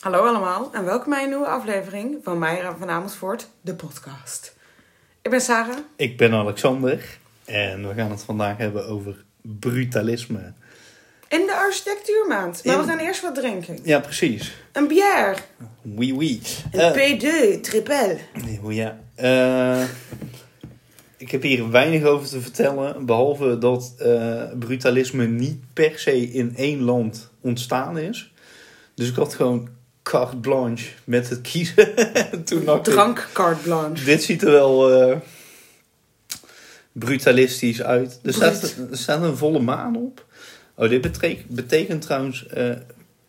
Hallo allemaal en welkom bij een nieuwe aflevering van Meira van Amersfoort, de podcast. Ik ben Sarah. Ik ben Alexander en we gaan het vandaag hebben over brutalisme. In de architectuurmaand. Maar In- we gaan eerst wat drinken. Ja, precies. Een bière. Oui, oui. Een P2, triple. Eh, ja. Eh, ik heb hier weinig over te vertellen, behalve dat eh, brutalisme niet per se in één land ontstaan is. Dus ik had gewoon carte blanche met het kiezen. Toen dacht ik, Drank carte blanche. Dit ziet er wel eh, brutalistisch uit. Er staat, er staat een volle maan op. Oh, dit betrek- betekent trouwens eh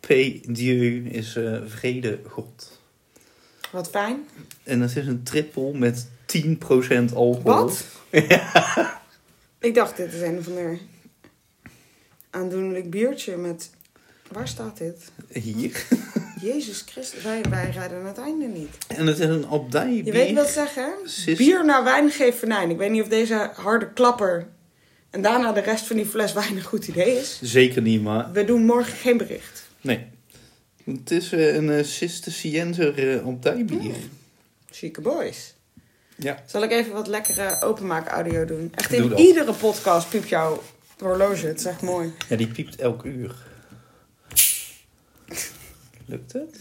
P. Dieu is eh, vrede God. Wat fijn. En dat is een trippel met 10% alcohol. Wat? Ik dacht dit is een of ander aandoenlijk biertje met... Waar staat dit? Hier. Jezus Christus, wij, wij rijden het einde niet. En het is een abdij. Je weet wat ze zeggen, hè? Sis- Bier naar wijn geeft venijn. Ik weet niet of deze harde klapper en daarna de rest van die fles wijn een goed idee is. Zeker niet, maar... We doen morgen geen bericht. Nee. Het is eh, een eh Cisterciënzer eh, abdijbier. Hmm. Chique boys. Ja. Zal ik even wat lekkere openmaak audio doen? Echt Doe in dat. iedere podcast piep jouw horloge. Het is echt mooi. Ja, die piept elk uur. Lukt het?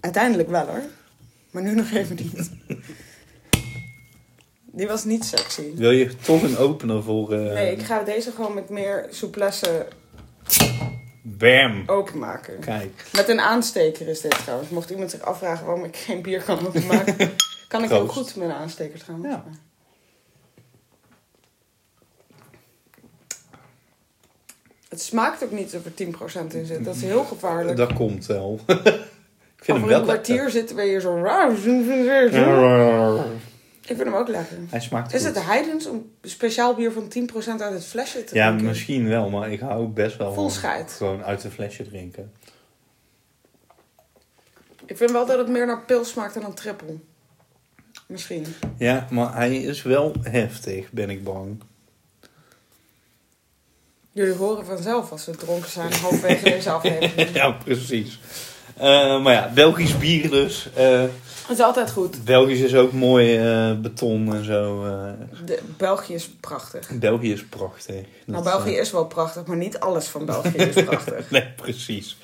Uiteindelijk wel hoor. Maar nu nog even niet. Die was niet sexy. Wil je toch een opener voor... eh, Nee, ik ga deze gewoon met meer souplesse Bam! Oh. openmaken. Kijk, Met een aansteker is dit trouwens. Mocht iemand zich afvragen waarom ik geen bier kan openmaken, kan ik heel Proost. goed met een aansteker trouwens. Ja. Het smaakt ook niet of er 10% in zit. Dat is heel gevaarlijk. dat komt wel. ik vind hem Over een wel kwartier lekker. zitten we hier zo raar. Ik vind hem ook lekker. Hij smaakt Is goed. het heidens om speciaal bier van 10% uit het flesje te Ja, drinken? misschien wel, maar ik hou best wel Vol van scheid. gewoon uit een flesje drinken. Ik vind wel dat het meer naar pils smaakt dan een trippel. Misschien. Ja, maar hij is wel heftig, ben ik bang. Jullie horen vanzelf als we dronken zijn halverwege deze aflevering. ja, precies. Eh, maar ja, Belgisch bier dus. Eh, Het is altijd goed. Belgisch is ook mooi eh, beton en zo. eh. De, België is prachtig. België is prachtig. Nou, Dat, België eh, is wel prachtig, maar niet alles van België is prachtig. Nee, precies.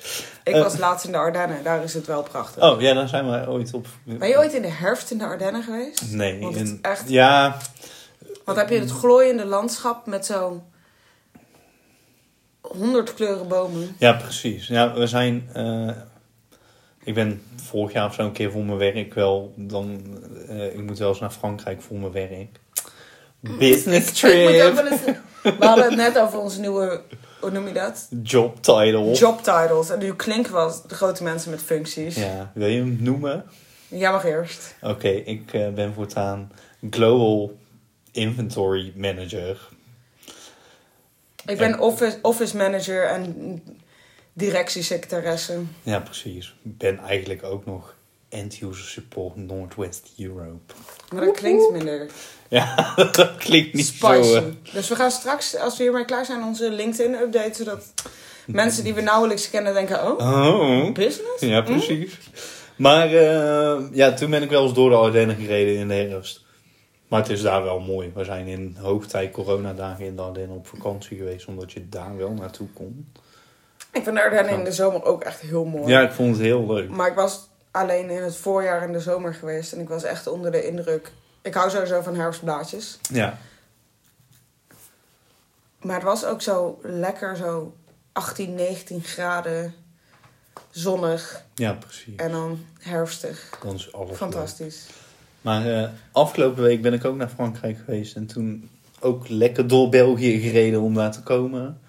Ik Eh. was laatst in de Ardennen, daar is het wel prachtig. Oh ja, dan zijn we ooit op. Ben je ooit in de herfst in de Ardennen geweest? Nee, Want het is in- echt- Ja, Want heb je het glooiende landschap met zo'n honderd kleuren bomen. Ja, precies. Ja, we zijn. eh, ik ben vorig jaar of zo een keer voor mijn werk wel. Dan, eh, ik moet wel eens naar Frankrijk voor mijn werk. Business Mm. Ik moet ook trip. wel eens- We hadden het net over onze nieuwe, hoe noem je dat? Job title. Job titles. En nu klinken we als de grote mensen met functies. Ja, wil je hem noemen? Jij mag eerst. Oké, ik eh, ben voortaan Global Inventory Manager. Ik ben office, office manager en directiesecretaresse. Ja, precies. Ik ben eigenlijk ook nog End-User Support Northwest Europe. Maar dat klinkt minder Ja, dat klinkt niet spicy. zo... eh, Dus we gaan straks, als we hiermee klaar zijn, onze LinkedIn updaten. Zodat mensen die we nauwelijks kennen denken, oh, Oh, business? Ja, precies. Maar eh, ja, toen ben ik wel eens door de Ardennen gereden in de herfst. Maar het is daar wel mooi. We zijn in hoogtijd coronadagen in de Ardennen op vakantie geweest, omdat je daar wel naartoe kon. Ik vind Ardennen in de zomer ook echt heel mooi. Ja, ik vond het heel leuk. Maar ik was alleen in het voorjaar en de zomer geweest. En ik was echt onder de indruk. Ik hou sowieso van herfstblaadjes. Ja, Maar het was ook zo lekker, zo 18, 19 graden. Zonnig ja precies. en dan herfstig. Dan is alles leuk. Fantastisch. Maar eh, afgelopen week ben ik ook naar Frankrijk geweest. En toen ook lekker door België gereden om daar te komen.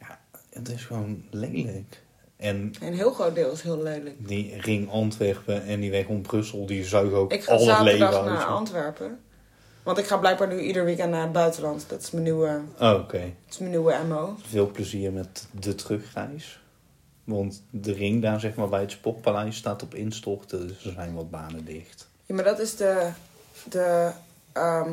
Ja, het is gewoon lelijk. En Een heel groot deel is heel lelijk. Die ring Antwerpen en die weg om Brussel, die zuigen ook Ik ga al het leven zaterdag uit. naar Antwerpen. Want ik ga blijkbaar nu ieder weekend naar het buitenland. Dat is mijn nieuwe, Oh, Oké, dat is mijn nieuwe MO. veel plezier met de terugreis. Want de ring daar zeg maar bij het Sportpaleis staat op instorten, dus er zijn wat banen dicht. Ja, maar dat is de, de ehm,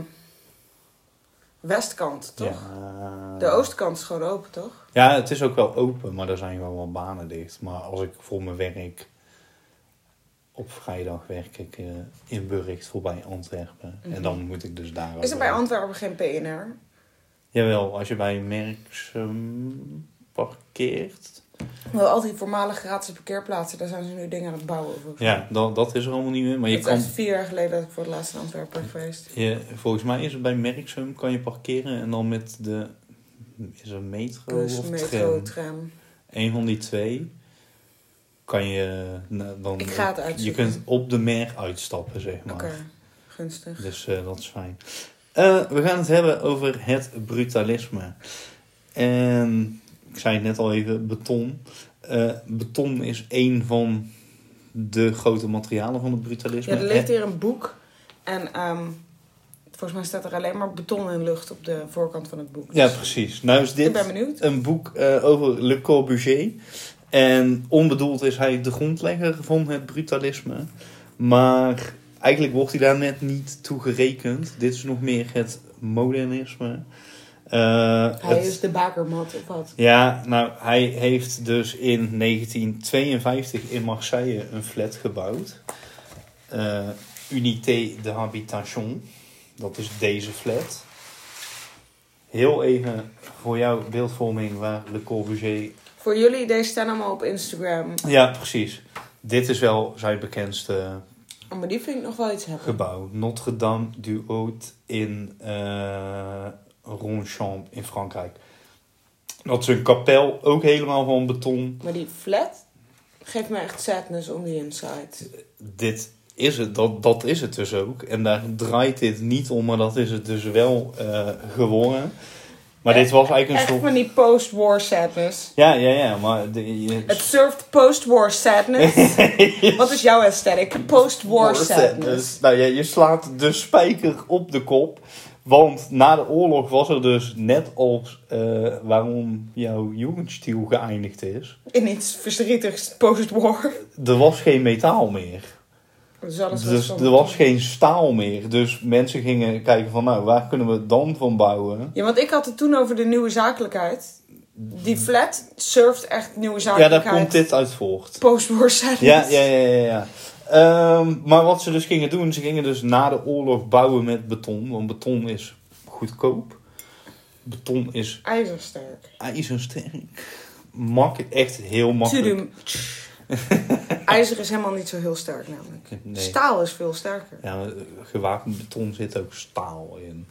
westkant, toch? Ja. De oostkant is gewoon open, toch? Ja, het is ook wel open, maar er zijn gewoon wel banen dicht. Maar als ik voor mijn werk op vrijdag werk ik eh, in Burgt voorbij Antwerpen. En dan moet ik dus daar. Mhm. Is er bij Antwerpen geen PNR? Jawel, als je bij Merksem parkeert. Wel, al die voormalige gratis parkeerplaatsen, daar zijn ze nu dingen aan het bouwen. Over. Ja, dan, dat is er allemaal niet meer. Maar je het is kan. echt vier jaar geleden dat ik voor het laatst in Antwerpen ben geweest. Je, volgens mij is het bij Merksum kan je parkeren en dan met de. Is er metro Dus of metro, tram? tram. Een van die twee kan je nou, dan. Ik ga het je uitzoeken. kunt op de mer uitstappen, zeg maar. Oké, gunstig. Dus eh, dat is fijn. Eh, we gaan het hebben over het brutalisme. En ik zei het net al even, beton. Eh, beton is een van de grote materialen van het brutalisme. Ja, er ligt hier een boek en ehm, volgens mij staat er alleen maar beton en lucht op de voorkant van het boek. Ja, Dus precies. Nou is ik dit ben benieuwd. een boek eh, over Le Corbusier. En onbedoeld is hij de grondlegger van het brutalisme. Maar eigenlijk wordt hij daar net niet toe gerekend. Dit is nog meer het modernisme. Eh, Hij het- is de bakermat of wat? Ja, nou, hij heeft dus in 1952 in Marseille een flat gebouwd. Eh, Unité de Habitation. Dat is deze flat. Heel even voor jouw beeldvorming waar Le Corbusier... Voor jullie, deze staan allemaal op Instagram. Ja, precies. Dit is wel zijn bekendste Oh, maar die vind ik nog wel iets hebben. gebouw. Notre Dame du Haut in eh Ronchamp in Frankrijk. Dat is een kapel, ook helemaal van beton. Maar die flat geeft me echt sadness on the inside. dit is het, dat, dat is het dus ook. En daar draait dit niet om, maar dat is het dus wel eh, geworden. Maar dit was eigenlijk een Echt soort... van die post-war sadness. Ja, ja, ja, maar... De, je- Het surft post-war sadness. Wat is jouw aesthetic? Post-war sadness. Nou ja, je slaat de spijker op de kop. Want na de oorlog was er dus net als eh, waarom jouw jugendstil geëindigd is. In iets verdrietigs post-war. Er was geen metaal meer. Dus alles was Dus van er was geen staal meer. Dus mensen gingen kijken van nou, waar kunnen we het dan van bouwen? Ja, want ik had het toen over de nieuwe zakelijkheid. Die flat surft echt nieuwe Ja, zakelijkheid. daar komt dit uit voort. Post-war sadness. Ja, ja, ja, ja. ja. Ehm, maar wat ze dus gingen doen, ze gingen dus na de oorlog bouwen met beton. Want beton is goedkoop. Beton is IJzersterk. ijzersterk. Makkelijk, echt heel makkelijk. Tudum. IJzer is helemaal niet zo heel sterk namelijk. Nee. Staal is veel sterker. Ja, maar, eh, gewapend beton zit ook staal in.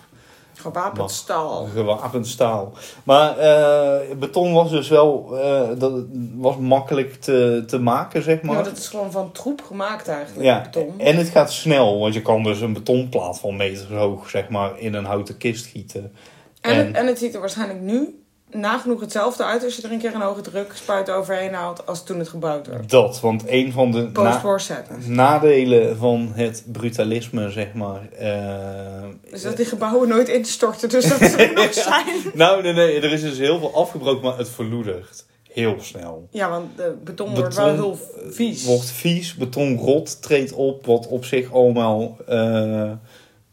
Gewapend Mag. staal. Gewapend staal. Maar eh, beton was dus wel eh, dat was makkelijk te, te maken, zeg maar. Nou, dat is gewoon van troep gemaakt eigenlijk, Ja, beton. en het gaat snel, want je kan dus een betonplaat van meters hoog, zeg maar, in een houten kist gieten. En, en- het, en het ziet er waarschijnlijk nu nagenoeg hetzelfde uit als je er een keer een hoge druk spuit overheen haalt als toen het gebouwd werd. Dat, want een van de na- Post-war sadness. nadelen van het brutalisme, zeg maar. eh, Dus dat die gebouwen nooit instorten, dus dat ze er nog zijn. Nou, nee, nee, er is dus heel veel afgebroken, maar het verloedert heel snel. Ja, want de beton, wordt wel Beton, eh, heel vies. Wordt vies, beton rot, treedt op, wat op zich allemaal eh,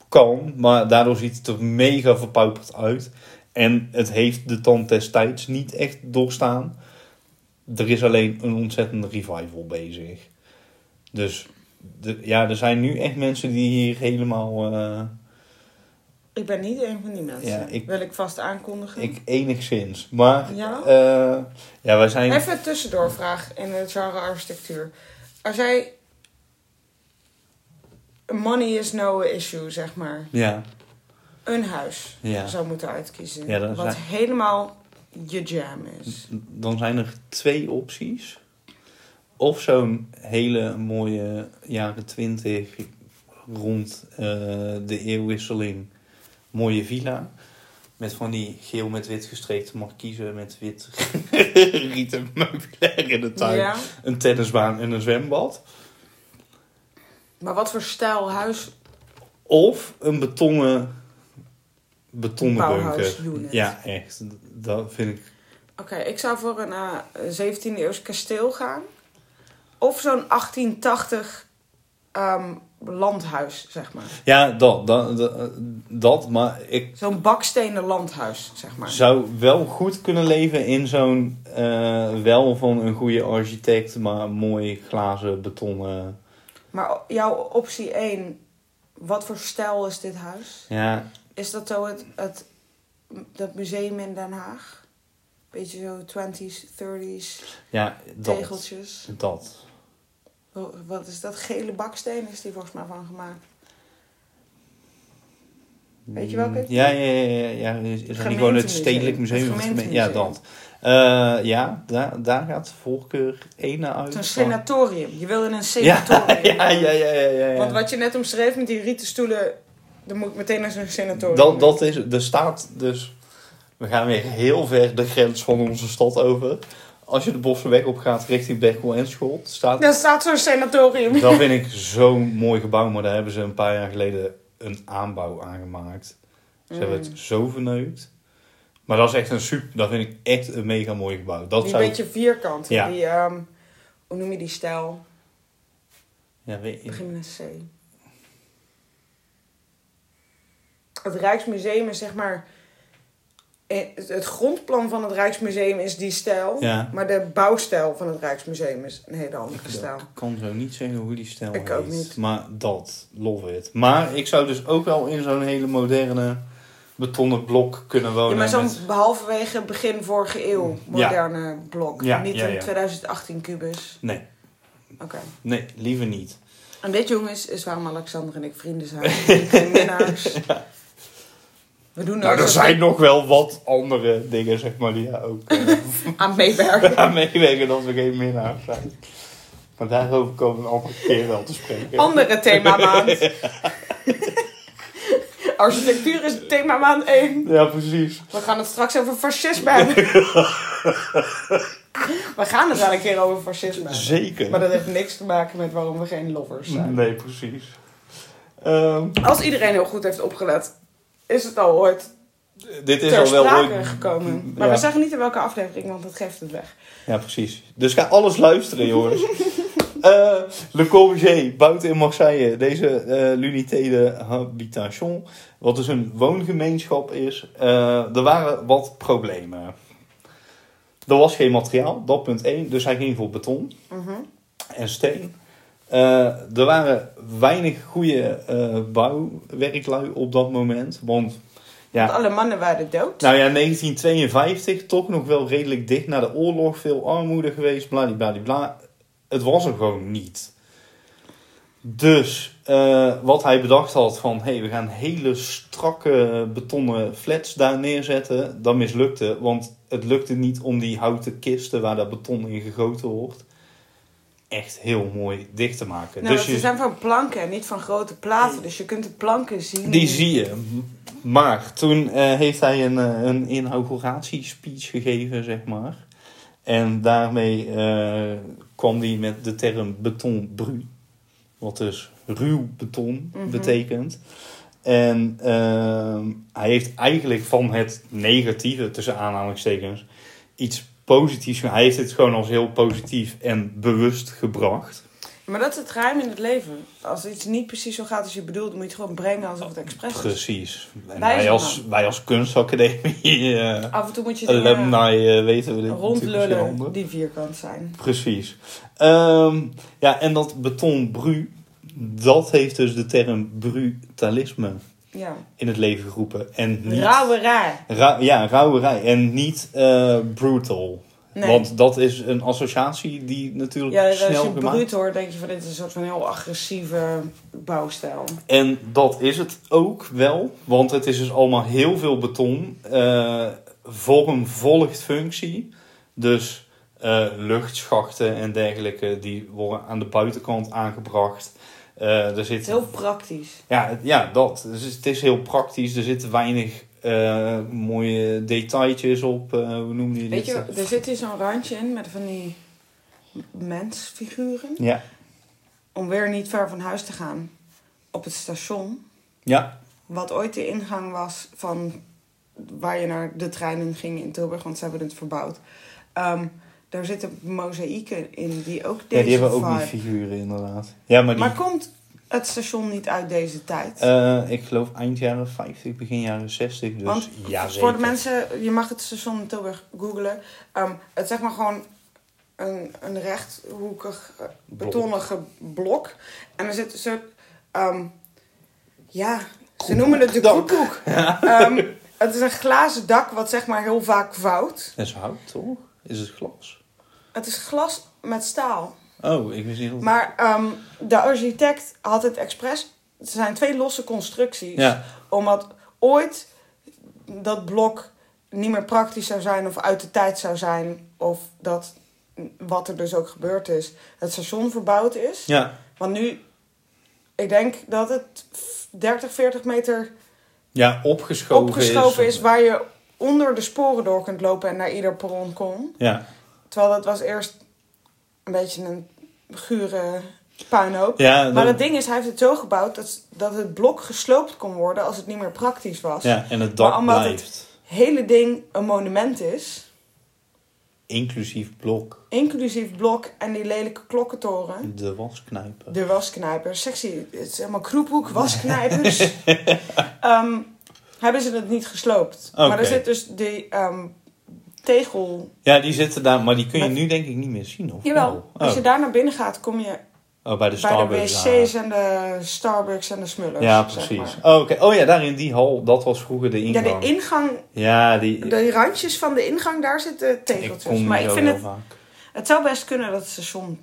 kan. Maar daardoor ziet het er mega verpauperd uit. En het heeft de tand destijds niet echt doorstaan. Er is alleen een ontzettende revival bezig. Dus de, ja, er zijn nu echt mensen die hier helemaal... eh, Ik ben niet een van die mensen. Ja, ik- Wil ik vast aankondigen. ik enigszins. Maar Ja? eh, ja, wij zijn... Even een tussendoorvraag in het genre architectuur. Als jij... Money is no issue, zeg maar. Ja, Een huis Ja. zou moeten uitkiezen. Ja, dat is wat waar. helemaal je jam is. dan zijn er twee opties. Of zo'n hele mooie jaren twintig rond eh, de eeuwwisseling mooie villa. Met van die geel met wit gestreepte markiezen met wit rieten meubilair in de tuin. Ja. Een tennisbaan en een zwembad. Maar wat voor stijl huis... Of een betonnen, betonnen Bauhaus bunker. unit. Ja, echt. Dat vind ik... Oké, ik zou voor een eh, 17e eeuws kasteel gaan. Of zo'n 1880 ehm, landhuis, zeg maar. Ja, dat, dat, dat, dat, maar ik Zo'n bakstenen landhuis, zeg maar. zou wel goed kunnen leven in zo'n eh, wel van een goede architect, maar mooi glazen betonnen. Maar o- jouw optie 1, wat voor stijl is dit huis? Ja, Is dat zo het, het dat museum in Den Haag? Beetje zo 20s, 30s, ja dat. tegeltjes. Dat. Ho- Wat is dat? Gele baksteen is die volgens mij van gemaakt. Weet je welke? Mm, Ja, ja, ja. ja, ja. Is, is dat niet gewoon het Gemeentemuseum. Stedelijk Museum? Het of het geme- ja, gemeentemuseum. dat. Eh, ja, daar, daar gaat voorkeur 1 naar uit. Zo'n van- senatorium. Je wil in een Ja, senatorium. ja, ja, ja, ja. ja, ja. Want wat je net omschreef met die rieten stoelen, dan moet ik meteen naar zo'n senatorium. Dat, dat is, er staat dus, we gaan weer heel ver de grens van onze stad over. Als je de Bossenweg op gaat richting Berkel en Scholt, staat, Dan staat zo'n senatorium. dat vind ik zo'n mooi gebouw. Maar daar hebben ze een paar jaar geleden een aanbouw aangemaakt. Ze hebben het zo verneukt. Maar dat is echt een super, dat vind ik echt een mega mooi gebouw. Dat die zou ik- beetje vierkant. Ja. Die, ehm, hoe noem je die stijl? Ja, weet je- Begin met een C. Het Rijksmuseum is zeg maar... eh, Het het grondplan van het Rijksmuseum is die stijl. Ja. Maar de bouwstijl van het Rijksmuseum is een hele andere stijl. Ik kan zo niet zeggen hoe die stijl Ik heet. ook niet. Maar dat, love it. Maar ik zou dus ook wel in zo'n hele moderne betonnen blok kunnen wonen. Ja, maar zo'n Oh, nou, met- halverwege begin vorige eeuw moderne blok. Ja, Niet ja, een ja. 2018 kubus. Nee, Oké. nee, liever niet. En dit jongens is waarom Alexander en ik vrienden zijn. Geen minnaars. We doen Nou, er nooit zo zijn nog wel wat andere dingen, zeg maar, die daar ook eh, aan meewerken. aan meewerken dat we geen minnaar zijn. Maar daarover komen we een andere keer wel te spreken. Andere themamaand. Architectuur is themamaand 1. Ja, precies. We gaan het straks over fascisme hebben. We gaan het wel een keer over fascisme hebben. Zeker. Maar dat heeft niks te maken met waarom we geen lovers zijn. Nee, precies. Ehm, Als iedereen heel goed heeft opgelet, is het al ooit dit is ter al wel sprake ooit- Mm, gekomen. Maar Ja. we zeggen niet in welke aflevering, want dat geeft het weg. Ja, precies. Dus ga alles luisteren, jongens. Eh, Le Corbusier bouwt in Marseille deze eh l'unité de habitation. Wat dus een woongemeenschap is. Eh, er waren wat problemen. Er was geen materiaal, dat punt 1. Dus hij ging voor beton Mhm. en steen. Eh, er waren weinig goede eh, bouwwerklui op dat moment. Want ja, Want alle mannen waren dood. nou ja, 1952 toch nog wel redelijk dicht na de oorlog. Veel armoede geweest, bladibladibla. Het was er gewoon niet. Dus eh, wat hij bedacht had van... hé, hey, we gaan hele strakke betonnen flats daar neerzetten. Dat mislukte, want het lukte niet om die houten kisten... waar dat beton in gegoten wordt... echt heel mooi dicht te maken. nou, dus ze je- zijn van planken en niet van grote platen. Dus je kunt de planken zien. die zie je. Maar toen eh, heeft hij een, eh, een inauguratiespeech gegeven, zeg maar. En daarmee eh, kwam hij met de term beton bru. Wat dus ruw beton Mhm. betekent. En ehm, hij heeft eigenlijk van het negatieve, tussen aanhalingstekens, iets positiefs. Hij heeft het gewoon als heel positief en bewust gebracht. Maar dat is het geheim in het leven. Als iets niet precies zo gaat als je bedoelt, moet je het gewoon brengen alsof het expres is. Precies. En Wij wij zijn als, dan. wij als kunstacademie... eh, Af en toe moet je dingen alumni eh, weten we dit natuurlijk in rondlullen handen. die vierkant zijn. Precies. Ehm, ja, en dat beton bru, dat heeft dus de term brutalisme Ja. in het leven geroepen. En niet, Rauwe raar. Ra- ja, rauwerij. En niet eh, brutal. Nee. Want dat is een associatie die natuurlijk ja, als snel je gemaakt bruut hoort, denk je van dit is een soort van heel agressieve bouwstijl. En dat is het ook wel, want het is dus allemaal heel veel beton. Eh, vorm volgt functie. Dus eh, luchtschachten en dergelijke, die worden aan de buitenkant aangebracht. Eh, er Het zit, is heel praktisch. ja, het- ja, dat. Dus het is heel praktisch. Er zitten weinig eh, mooie detailtjes op. eh, hoe noem je dit? Weet je, er zit hier zo'n randje in met van die mensfiguren. Ja. Om weer niet ver van huis te gaan. Op het station, Ja. wat ooit de ingang was van waar je naar de treinen ging in Tilburg, want ze hebben het verbouwd. Ehm, daar zitten mozaïeken in die ook ja, deze die hebben ook vibe- die figuren inderdaad. Ja, maar die... Maar komt het station niet uit deze tijd. Eh, ik geloof eind jaren 50, begin jaren 60. Dus Want ja, zeker. Voor de mensen, je mag het station in Tilburg googlen. Ehm, het is zeg maar gewoon een, een rechthoekig eh, betonnige blok. En er zit een soort. ehm, ja, ze noemen het de Dak. koekoek. Ehm, het is een glazen dak wat zeg maar heel vaak vouwt. Dat is hout, toch? Is het glas? Het is glas met staal. Oh, ik wist niet dat... Maar ehm, de architect had het expres. Het zijn twee losse constructies. Ja. Omdat ooit dat blok niet meer praktisch zou zijn of uit de tijd zou zijn. Of dat wat er dus ook gebeurd is, het station verbouwd is. Ja. Want nu, ik denk dat het 30, 40 meter ja, opgeschoven, opgeschoven is. is. waar je onder de sporen door kunt lopen en naar ieder perron kon. Ja. Terwijl dat was eerst een beetje een gure puinhoop. Ja, dat- maar het ding is, hij heeft het zo gebouwd dat, dat het blok gesloopt kon worden als het niet meer praktisch was. ja, en het Maar dak omdat blijft. Hele ding een monument is, Inclusief blok, inclusief blok en die lelijke klokkentoren. de wasknijper. De wasknijpers, sexy, het is helemaal kroephoek, wasknijpers. Ehm, hebben ze het niet gesloopt. Maar Oké. er zit dus die ehm, tegel. Ja, die zitten daar, maar die kun je Maar- nu denk ik niet meer zien, of Jawel, wel? als je Oh. daar naar binnen gaat, kom je Oh, bij de bij de Starbucks. wc's en de Starbucks en de Smullers. Ja, zeg precies. maar. oh, oké. oh ja, daar in die hal, dat was vroeger de Ja, ingang. de ingang, Ja, die... de randjes van de ingang, daar zitten ik tegeltjes. kom Maar ik zo vind heel het, vaak. het zou best kunnen dat het station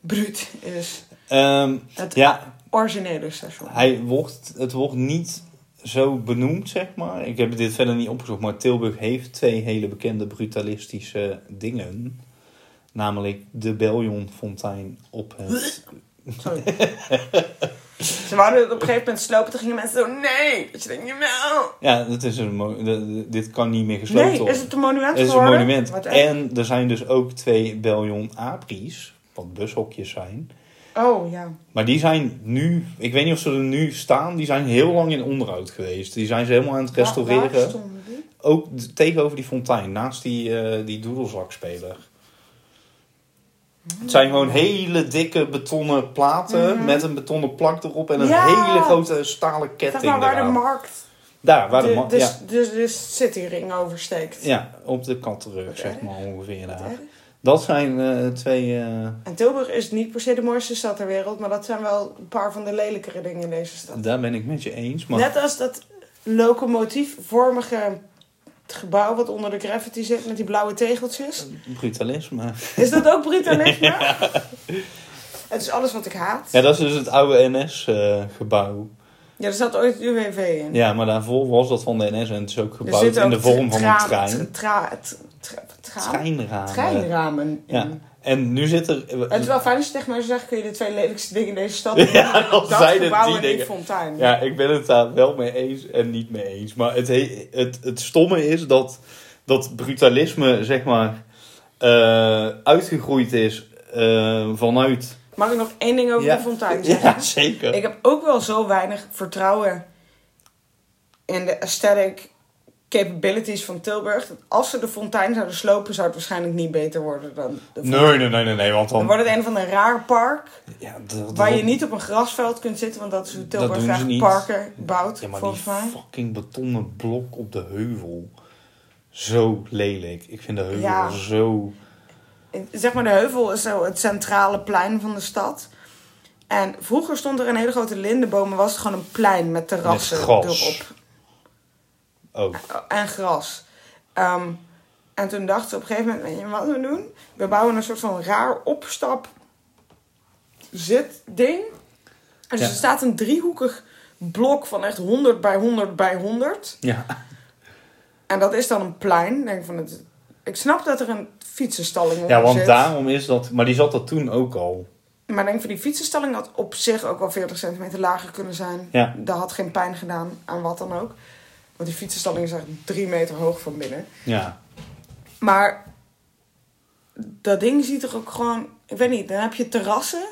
bruut is. Ehm, Het ja, originele station. hij wordt, het wordt niet zo benoemd, zeg maar. Ik heb dit verder niet opgezocht, maar Tilburg heeft twee hele bekende brutalistische dingen. Namelijk de Bellionfontein op het... Sorry. Ze wouden het op een gegeven moment slopen, toen gingen mensen zo, nee. Dat je denkt, jawel. Ja, dat is een mo- de- de- dit kan niet meer gesloten Nee, worden. is het een monument Het is een geworden? monument. Wat echt? En er zijn dus ook twee Bellion Apries, wat bushokjes zijn. Oh, ja. Maar die zijn nu, ik weet niet of ze er nu staan, die zijn heel lang in onderhoud geweest. Die zijn ze helemaal aan het Waar, waar restaureren. stonden die? ook d- tegenover die fontein, naast die, eh, die doedelzakspeler. Het zijn gewoon hele dikke betonnen platen Mhm. met een betonnen plak erop en een Ja. hele grote stalen ketting. Zeg maar waar de eraan. markt, Daar, waar de, de, ma- de, ja. de, de cityring oversteekt. ja, op de kanterug, Wat zeg erg. maar ongeveer Wat daar. erg. Dat zijn eh, twee. eh, En Tilburg is niet per se de mooiste stad ter wereld, maar dat zijn wel een paar van de lelijkere dingen in deze stad. daar ben ik met je eens. Maar Net als dat locomotiefvormige gebouw wat onder de graffiti zit met die blauwe tegeltjes. brutalisme. Is dat ook brutalisme? Het is alles wat ik haat. Ja, dat is dus het oude NS-gebouw. Ja, er zat ooit UWV in. ja, maar daarvoor was dat van de NS en het is ook Er gebouwd zitten in de ook vorm van een tra- trein. tra- tra- tra- tra- Treinramen. Treinramen. in. Ja. En nu zit er. Het is wel fijn als je tegen mij zou zeggen, kun je de twee lelijkste dingen in deze stad doen? Ja, dan dat zijn het gebouw die en die dingen. fontein. Ja, ik ben het daar wel mee eens en niet mee eens. Maar het, he- het, het stomme is dat, dat brutalisme, zeg maar, eh, uitgegroeid is eh, vanuit. Mag ik nog één ding over Ja. de fontein zeggen? Ja, zeker. Ik heb ook wel zo weinig vertrouwen in de aesthetic capabilities van Tilburg. Dat als ze de fontein zouden slopen, zou het waarschijnlijk niet beter worden dan de fontein. Nee, nee, nee, nee, nee, want Dan dan. wordt het een van een raar park Ja, dat- waar je dat- niet op een grasveld kunt zitten, want dat is hoe Tilburg doen ze graag niet. parken bouwt, Ja, maar die volgens mij. fucking betonnen blok op de heuvel. Zo lelijk. Ik vind de heuvel Ja. zo. Zeg maar, de heuvel is zo het centrale plein van de stad. En vroeger stond er een hele grote lindenboom en was het gewoon een plein met terrassen Met gras. erop. Oh. en gras. Ehm, en toen dachten ze op een gegeven moment, weet je wat we doen? We bouwen een soort van raar opstap zit ding. Dus Ja. er staat een driehoekig blok van echt 100 bij 100 bij 100. Ja. En dat is dan een plein. Ik Denk van het, ik snap dat er een fietsenstalling onder Ja, want zit. daarom is dat. Maar die zat er toen ook al. Maar ik denk van die fietsenstalling had op zich ook wel 40 centimeter lager kunnen zijn. Ja. Dat had geen pijn gedaan aan wat dan ook. Want die fietsenstalling is echt drie meter hoog van binnen. Ja. Maar dat ding ziet er ook gewoon. Ik weet niet, dan heb je terrassen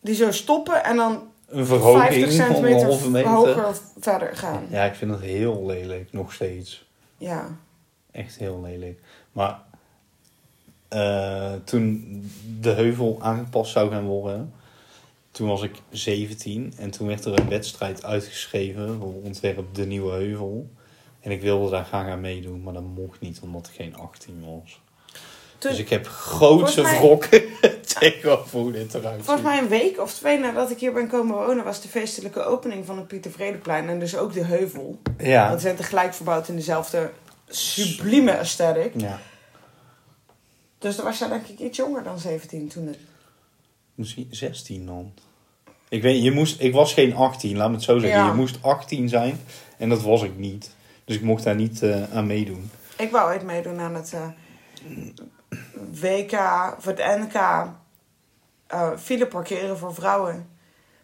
die zo stoppen en dan Een verhoging 50 van een centimeter halve meter. hoger verder gaan. Ja. Ja, ik vind dat heel lelijk, nog steeds. Echt heel lelijk. Maar eh, toen de heuvel aangepast zou gaan worden, Toen was ik 17 en toen werd er een wedstrijd uitgeschreven voor ontwerp De Nieuwe Heuvel. En ik wilde daar graag aan meedoen, maar dat mocht niet omdat ik geen 18 was. Toen- dus ik heb grootse Volgens mij- wrok tegenover hoe dit eruit ziet. Volgens mij een week of twee nadat ik hier ben komen wonen, was de feestelijke opening van het Pieter Vredeplein en dus ook de heuvel. Ja. Want ze zijn tegelijk verbouwd in dezelfde sublieme aesthetic. ja, Dus dan was jij denk ik iets jonger dan 17 toen het... misschien 16 dan. Ik, weet, je moest, ik was geen 18, laat me het zo zeggen. Ja. Je moest 18 zijn en dat was ik niet. Dus ik mocht daar niet eh, aan meedoen. Ik wou ooit meedoen aan het eh, WK, of het NK, eh file parkeren voor vrouwen.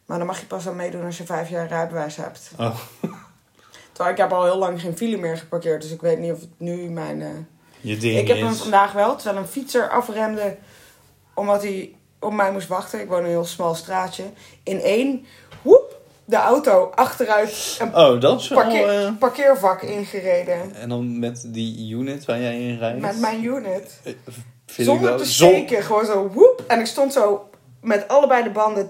Maar dan mag je pas aan meedoen als je vijf jaar rijbewijs hebt. Oh, Terwijl ik heb al heel lang geen file meer geparkeerd, dus ik weet niet of het nu mijn... eh, je ding Ik heb hem is... vandaag wel, terwijl een fietser afremde omdat hij op mij moest wachten. Ik woon in een heel smal straatje. In één, woep, de auto achteruit een Oh, dat is wel... parkeer- eh, parkeervak ingereden. En dan met die unit waar jij in rijdt. Met mijn unit. Eh, vind ik Zonder wel- te zon- steken, gewoon zo woep. En ik stond zo met allebei de banden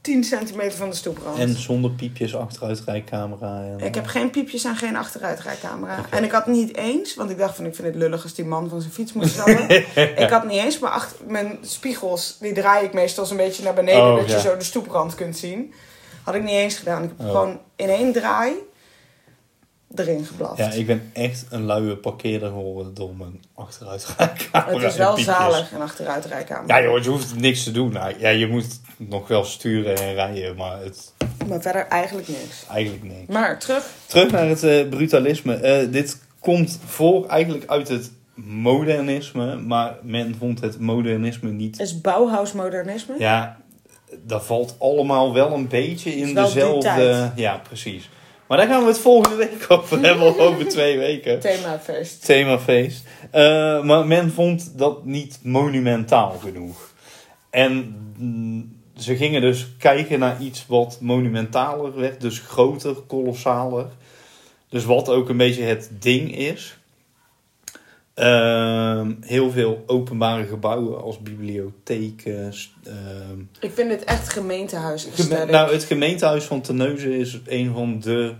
10 centimeter van de stoeprand. En zonder piepjes achteruitrijcamera. En... Ik heb geen piepjes en geen achteruitrijcamera. En ik had niet eens, want ik dacht van ik vind het lullig als die man van zijn fiets moet stappen. ik had niet eens, maar achter, mijn spiegels, die draai ik meestal zo'n beetje naar beneden, Oh, dat ja. je zo de stoeprand kunt zien. Had ik niet eens gedaan. Ik heb Oh. gewoon in één draai erin geblast. Ja, ik ben echt een luie parkeerder geworden door mijn achteruitrijcamera. het is en wel Oh, piepjes. zalig, een achteruitrijcamera. Ja joh, je hoeft niks te doen. Nou, Ja, je moet nog wel sturen en rijden, maar het is Maar verder eigenlijk niks. eigenlijk niks. Maar terug. Terug naar het eh, brutalisme. Eh, dit komt voor eigenlijk uit het modernisme, maar men vond het modernisme niet Is Bauhaus modernisme? Ja, dat valt allemaal wel een beetje in is wel die dezelfde. tijd. Ja, precies. Maar daar gaan we het volgende week over hebben, of over twee weken. Themafeest. Themafeest. Eh, maar men vond dat niet monumentaal genoeg. En mm, ze gingen dus kijken naar iets wat monumentaler werd, dus groter, kolossaler. Dus wat ook een beetje het ding is. Ehm, heel veel openbare gebouwen als bibliotheken, s- ehm, Ik vind het echt gemeentehuis. Geme- nou, het gemeentehuis van Terneuzen is een van de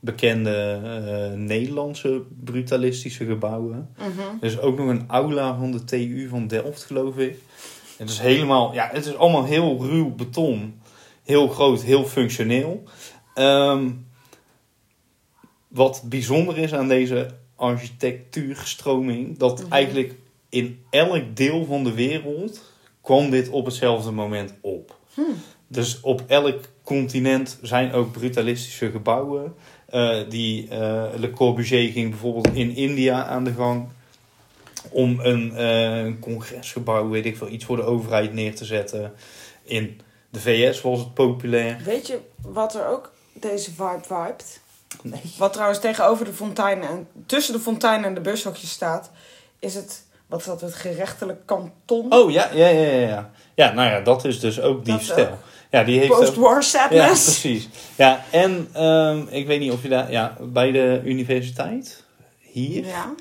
bekende eh, Nederlandse brutalistische gebouwen. Mhm. Er is ook nog een aula van de TU van Delft, geloof ik. Het is helemaal, ja, het is allemaal heel ruw beton. Heel groot, heel functioneel. Ehm, wat bijzonder is aan deze architectuurstroming, dat Mhm. eigenlijk in elk deel van de wereld kwam dit op hetzelfde moment op. Dus op elk continent zijn ook brutalistische gebouwen. Eh, die eh, Le Corbusier ging bijvoorbeeld in India aan de gang om een eh, een congresgebouw, weet ik veel, iets voor de overheid neer te zetten. In de VS was het populair. Weet je wat er ook deze vibe vibet? Nee. Wat trouwens tegenover de fontein en tussen de fontein en de bushokjes staat, is het wat is dat het gerechtelijk kanton? Oh ja, ja, ja, ja, ja. Ja, nou ja, dat is dus ook die Dat stijl. ook. Ja, die heeft ook- Post-war Ja, sadness. precies. Ja, en ehm, ik weet niet of je daar, ja, bij de universiteit hier. Ja.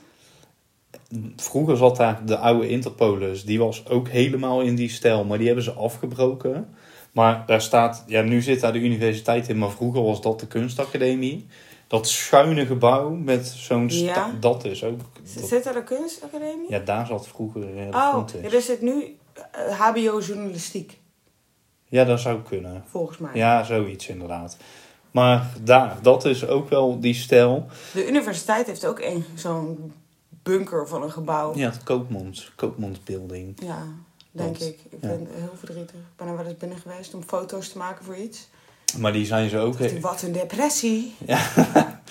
Vroeger zat daar de oude Interpolis. Die was ook helemaal in die stijl, maar die hebben ze afgebroken. Maar daar staat, ja, nu zit daar de universiteit in, maar vroeger was dat de kunstacademie. Dat schuine gebouw met zo'n sta- Ja. dat is ook. Z- dat- Zit er de kunstacademie? ja, daar zat vroeger eh, de oh, grond in. er is het nu eh, HBO journalistiek Ja, dat zou kunnen. volgens mij. Ja, zoiets inderdaad. Maar daar, dat is ook wel die stijl. De universiteit heeft ook een zo'n bunker van een gebouw. Ja, het Koopmans, Koopmansbuilding. Ja, denk Want- ik. Ik ja. ben heel verdrietig. Ik ben er wel eens binnen geweest om foto's te maken voor iets. Maar die zijn ze ook... Dacht ik, Wat een depressie.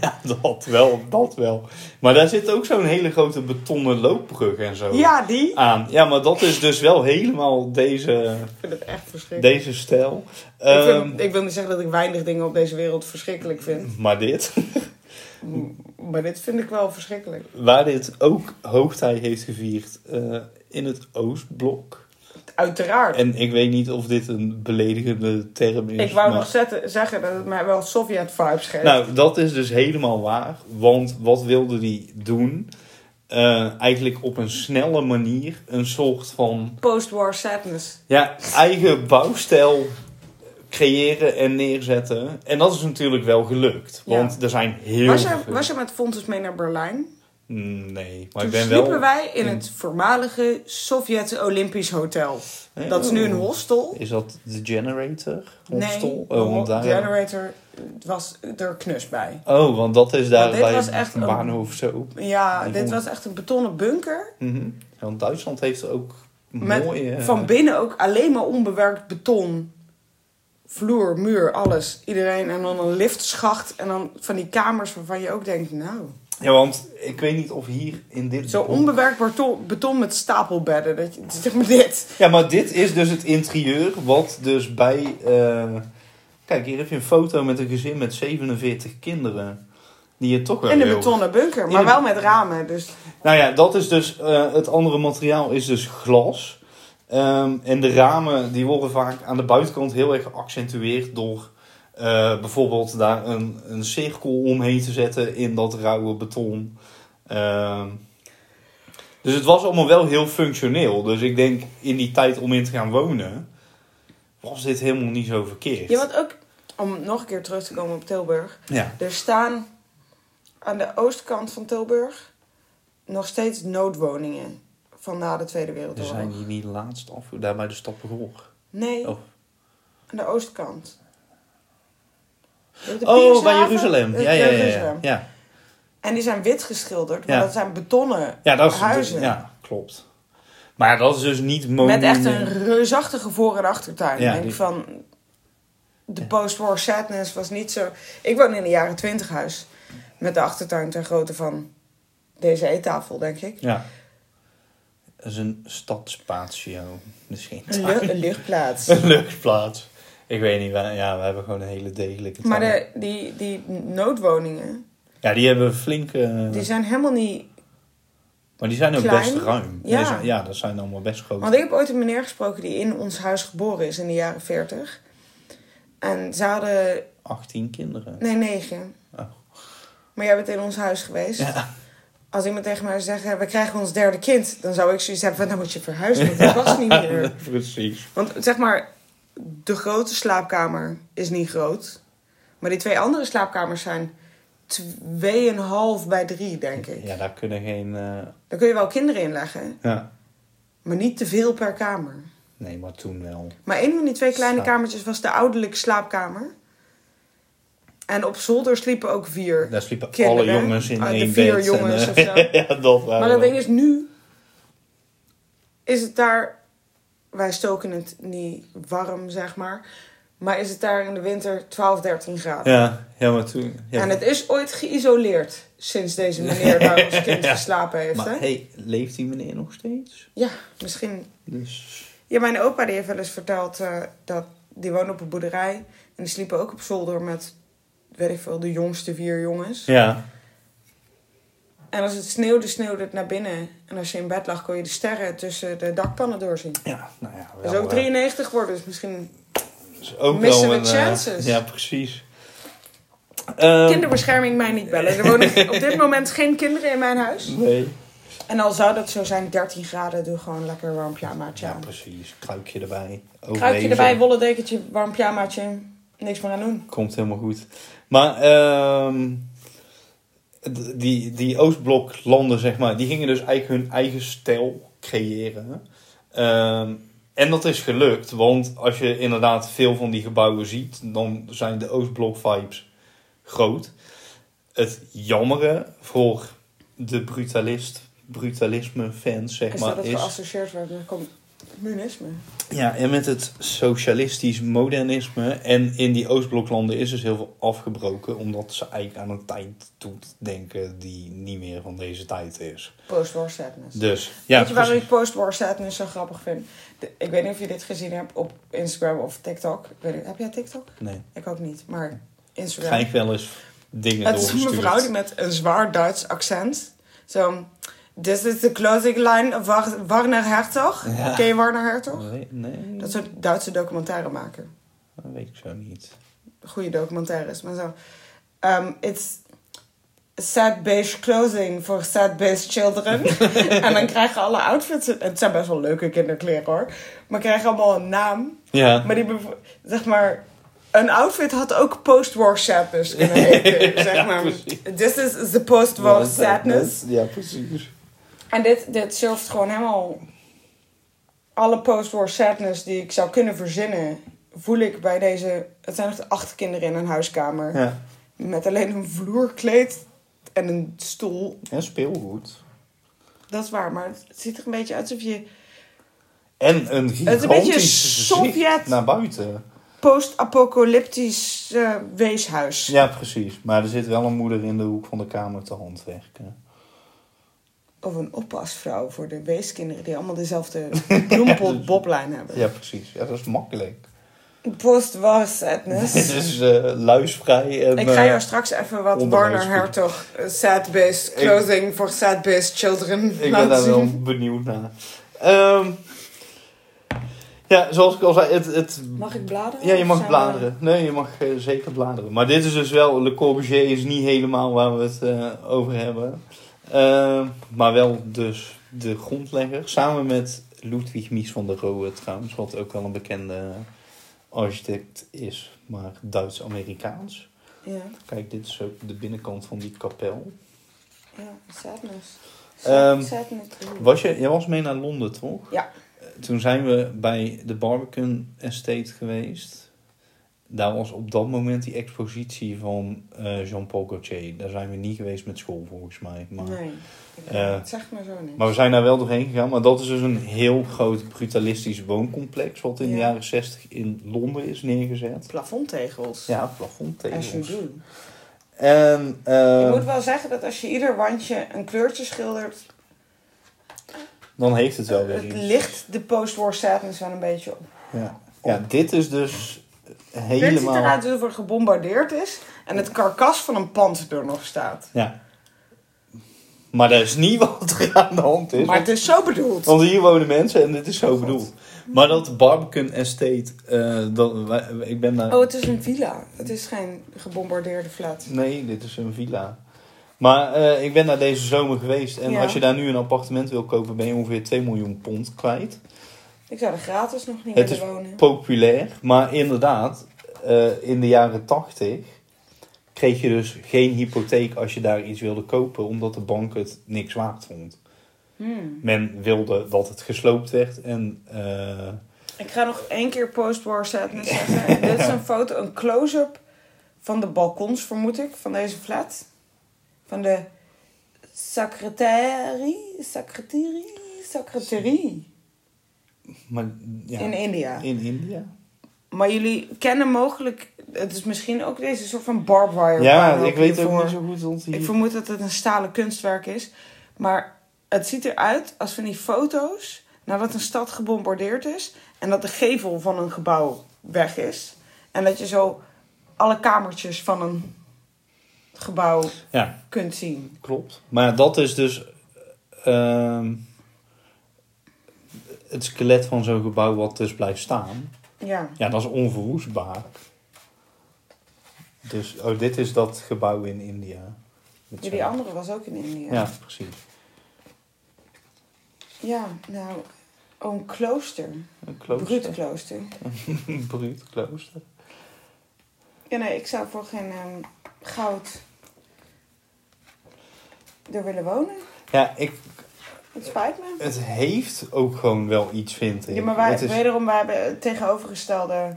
Ja, dat wel, dat wel. Maar daar zit ook zo'n hele grote betonnen loopbrug en zo Ja, die. aan. Ja, maar dat is dus wel helemaal deze, Ik vind het echt verschrikkelijk. deze stijl. Ik, vind- Ehm, ik wil niet zeggen dat ik weinig dingen op deze wereld verschrikkelijk vind. maar dit, Maar dit vind ik wel verschrikkelijk. waar dit ook hoogtij heeft gevierd eh, in het Oostblok. Uiteraard. En ik weet niet of dit een beledigende term is. ik wou maar- nog zetten, zeggen dat het mij wel Sovjet-vibes geeft. Nou, dat is dus helemaal waar. Want wat wilden die doen? Eh, eh, eigenlijk op een snelle manier een soort van Post-war sadness. ja, eigen bouwstijl creëren en neerzetten. En dat is natuurlijk wel gelukt. Ja. Want er zijn heel Was veel... Mm, je, was je met Fontes mee naar Berlijn? Nee, maar Toen ik ben sliepen wel... Hmm. wij in in- het voormalige Sovjet-Olympisch Hotel. Dat is nu een hostel. oh. Is dat de Generator? Nee, Hostel? Oh, want de daar... generator was er knus bij. Oh, want dat is daar Maar dit bij was echt een een- bahnhof zo. Ja, Die dit vond- was echt een betonnen bunker. Mhm. Want Duitsland heeft ook Met mooie... eh, van binnen ook alleen maar onbewerkt beton. Vloer, muur, alles. Iedereen. En dan een liftschacht. En dan van die kamers waarvan je ook denkt, nou... Ja, want ik weet niet of hier in dit... Zo onbewerkt beton, beton met stapelbedden. Dat je, zeg maar dit. Ja, maar dit is dus het interieur wat dus bij... eh, Kijk, hier heb je een foto met een gezin met 47 kinderen. Die je toch wel In een heel- betonnen bunker. In Maar een- wel met ramen. Dus Nou ja, dat is dus... eh, het andere materiaal is dus glas. Ehm, en de ramen die worden vaak aan de buitenkant heel erg geaccentueerd door... eh, bijvoorbeeld daar een, een cirkel omheen te zetten in dat rauwe beton. Ehm, dus het was allemaal wel heel functioneel. Dus ik denk in die tijd om in te gaan wonen... was dit helemaal niet zo verkeerd. Ja, want ook, om nog een keer terug te komen op Tilburg. Ja. Er staan aan de oostkant van Tilburg nog steeds noodwoningen van na de Tweede Er Wereldoorlog. zijn hier niet laatst af, daar bij de Stappengoor. Nee, Oh. aan de oostkant. De Oh, bij Piershaven, Jeruzalem. eh, Ja, ja, ja, ja. Jeruzalem. ja. En die zijn wit geschilderd, maar Ja. dat zijn betonnen Ja, dat is, dus- huizen. Ja, klopt. Maar dat is dus niet Met echt een monument- reusachtige voor- en achtertuin. Ja, Ik denk die- van... De post-war sadness was niet zo... Ik woon in een jaren twintig huis. Met de achtertuin ter grootte van deze eettafel, denk ik. Ja. Dat is een stadspatio. Misschien. Een, lu- een luchtplaats. Een luchtplaats. Ik weet niet, wij- ja, we hebben gewoon een hele degelijke Maar tuin. de, die, die noodwoningen, Ja, die hebben flink... eh, die zijn helemaal niet... maar die zijn ook klein. best ruim. Ja. Die zijn- ja, dat zijn allemaal best grote. Want ik heb ooit een meneer gesproken die in ons huis geboren is in de jaren 40. En ze hadden... 18 kinderen. Nee, negen. Oh. Maar jij bent in ons huis geweest. Ja. Als iemand tegen mij zou zeggen, we krijgen ons derde kind. Dan zou ik zoiets hebben van, dan moet je verhuizen. Want dat was niet meer. Precies. Want zeg maar, de grote slaapkamer is niet groot. Maar die twee andere slaapkamers zijn 2,5 bij 3, denk ik. Ja, daar kunnen geen... eh, Daar kun je wel kinderen in leggen. ja. Maar niet te veel per kamer. Nee, maar toen wel. Maar een van die twee kleine Slaap. kamertjes was de ouderlijke slaapkamer. En op zolder sliepen ook vier. Daar sliepen Kinderen. alle jongens in Ah, de één bed. vier en, jongens eh, of zo. ja, dat waren maar dat we. ding is, nu is het daar... Wij stoken het niet warm, zeg maar. Maar is het daar in de winter 12, 13 graden. Ja, ja, maar toen... Ja, En het is ooit geïsoleerd sinds deze meneer daar als kind Ja. geslapen heeft. maar hè? hey, leeft die meneer nog steeds? Ja, misschien Dus... Ja, mijn opa die heeft wel eens verteld eh, dat die woonde op een boerderij. En die sliepen ook op zolder met, weet ik veel, de jongste vier jongens. Ja. En als het sneeuwde, sneeuwde het naar binnen. En als je in bed lag, kon je de sterren tussen de dakpannen doorzien. Ja, nou ja. Dat is ook 93 worden, dus misschien... is ook missen wel we eh, chances. ja, precies. Ehm, Kinderbescherming mij niet bellen. Er wonen op dit moment geen kinderen in mijn huis. Ehm, Nee. En al zou dat zo zijn, 13 graden, doe gewoon lekker warm pyjamaatje Ja, aan. precies. Kruikje erbij. Kruipje Overleven. erbij, wollen dekentje, warm pyjamaatje. Niks meer aan doen. Komt helemaal goed. Maar ehm, d- die, die Oostbloklanden, zeg maar, die gingen dus eigenlijk hun eigen stijl creëren. Ehm, en dat is gelukt, want als je inderdaad veel van die gebouwen ziet, dan zijn de Oostblok-vibes groot. Het jammere voor de brutalist, brutalisme-fans, zeg Is maar, dat het is... geassocieerd wordt met communisme? Ja, en met het socialistisch modernisme en in die Oostbloklanden is dus heel veel afgebroken, omdat ze eigenlijk aan een tijd doet denken die niet meer van deze tijd is. Post-war sadness. Dus ja, weet je waarom precies. ik post-war sadness zo grappig vind? De- ik weet niet of je dit gezien hebt op Instagram of TikTok. Ik weet niet, heb jij TikTok? Nee, Ik ook niet, maar Instagram. krijg ik wel eens dingen Het is een doorgestuurd. mevrouw die met een zwaar Duits accent. Zo, this is the closing line of War- Warner Hertog. Ja. Ken je Warner Hertog? Nee, nee, Dat soort Duitse documentairemaker. dat weet ik zo niet. goede documentaires, maar zo. Ehm, it's sad-based clothing voor sad-based children. en dan krijgen alle outfits, het zijn best wel leuke kinderkleren hoor, maar krijgen allemaal een naam. Ja. Maar die, bev- zeg maar, een outfit had ook post-war sadness kunnen heten, zeg maar. This is the post-war sadness. Ja, precies. En dit, dit surft gewoon helemaal. Alle post-war sadness die ik zou kunnen verzinnen, voel ik bij deze. Het zijn echt acht kinderen in een huiskamer. Ja. Met alleen een vloerkleed en een stoel. En speelgoed. Dat is waar, maar het ziet er een beetje uit alsof je En een beetje gigantisch Sovjet. gezicht naar buiten. post-apocalyptisch eh, weeshuis. Ja, precies. Maar er zit wel een moeder in de hoek van de kamer te handwerken. Of een oppasvrouw voor de weeskinderen die allemaal dezelfde bloempot-boblijn hebben. dus- Ja, precies. Ja, dat is makkelijk. Post-war Dit sadness. is eh, luisvrij en... Ik ga eh, jou straks even wat Warner onderwijs- Hertog eh, sad-based clothing voor sad-based children Ik ben laten daar zien. wel benieuwd naar. Ehm, ja, zoals ik al zei, het... het Mag ik bladeren? ja, je Of mag zijn we- bladeren. Nee, je mag eh, zeker bladeren. Maar dit is dus wel... Le Corbusier is niet helemaal waar we het eh, over hebben. Ehm, maar wel dus de grondlegger. Samen met Ludwig Mies van der Rohe trouwens. Wat ook wel een bekende architect is. Maar Duits-Amerikaans. Ja, Kijk, dit is ook de binnenkant van die kapel. ja, sadness. Ehm, sadness. Was je, jij was mee naar Londen, toch? Ja. Eh, Toen zijn we bij de Barbican Estate geweest. Daar was op dat moment die expositie van eh, Jean-Paul Gaultier. Daar zijn we niet geweest met school, volgens mij. Maar, nee, ik- eh, het zegt me zo niet. maar we zijn daar wel doorheen gegaan. Maar dat is dus een heel groot brutalistisch wooncomplex... wat in Ja. de jaren 60 in Londen is neergezet. Plafondtegels. Ja, Ehm, plafondtegels. Als je doet. En eh, Ik moet wel zeggen dat als je ieder wandje een kleurtje schildert, eh, dan heeft het wel weer het iets. licht de post-war sadness wel een beetje op. Ja. ja, dit is dus Dit ziet helemaal... eruit alsof er gebombardeerd is en het karkas van een pand er nog staat. Ja. Maar dat is niet wat er aan de hand is. Maar het is zo bedoeld. Want hier wonen mensen en dit is zo bedoeld. Maar dat Barbican Estate, eh, dat, wij- ik ben daar... Oh, het is een villa. Het is geen gebombardeerde flat. Nee, dit is een villa. Maar eh, ik ben daar deze zomer geweest. En Ja. als je daar nu een appartement wil kopen, ben je ongeveer 2 miljoen pond kwijt. Ik zou er gratis nog niet Het willen is wonen. Populair. Maar inderdaad, eh, in de jaren 80 kreeg je dus geen hypotheek als je daar iets wilde kopen. Omdat de bank het niks waard vond. Hmm. Men wilde dat het gesloopt werd en eh, Ik ga nog één keer post-war sadness zeggen. En dit is een foto, een close-up van de balkons, vermoed ik, van deze flat. Van de secretarie, secretarie, secretarie maar, ja, in India. in India. Maar jullie kennen mogelijk, het is misschien ook deze soort van barbed wire. Ja, panel ik weet ook hiervoor. niet zo goed wat Ik hier... vermoed dat het een stalen kunstwerk is. Maar het ziet eruit als van die foto's nadat een stad gebombardeerd is. En dat de gevel van een gebouw weg is. En dat je zo alle kamertjes van een gebouw Ja, kunt zien. klopt. Maar dat is dus ehm, het skelet van zo'n gebouw wat dus blijft staan. Ja. Ja, dat is onverwoestbaar. Dus, oh, dit is dat gebouw in India. Met Die zo'n- andere was ook in India. Ja, precies. Ja, nou, oh, een klooster. Een klooster. Bruut klooster. Een bruut klooster. Ja, nee, ik zou voor geen ehm, goud er willen wonen. Ja, ik, Het spijt me. Het heeft ook gewoon wel iets, vind ik. Ja, maar wij, het is... wederom, wij hebben het tegenovergestelde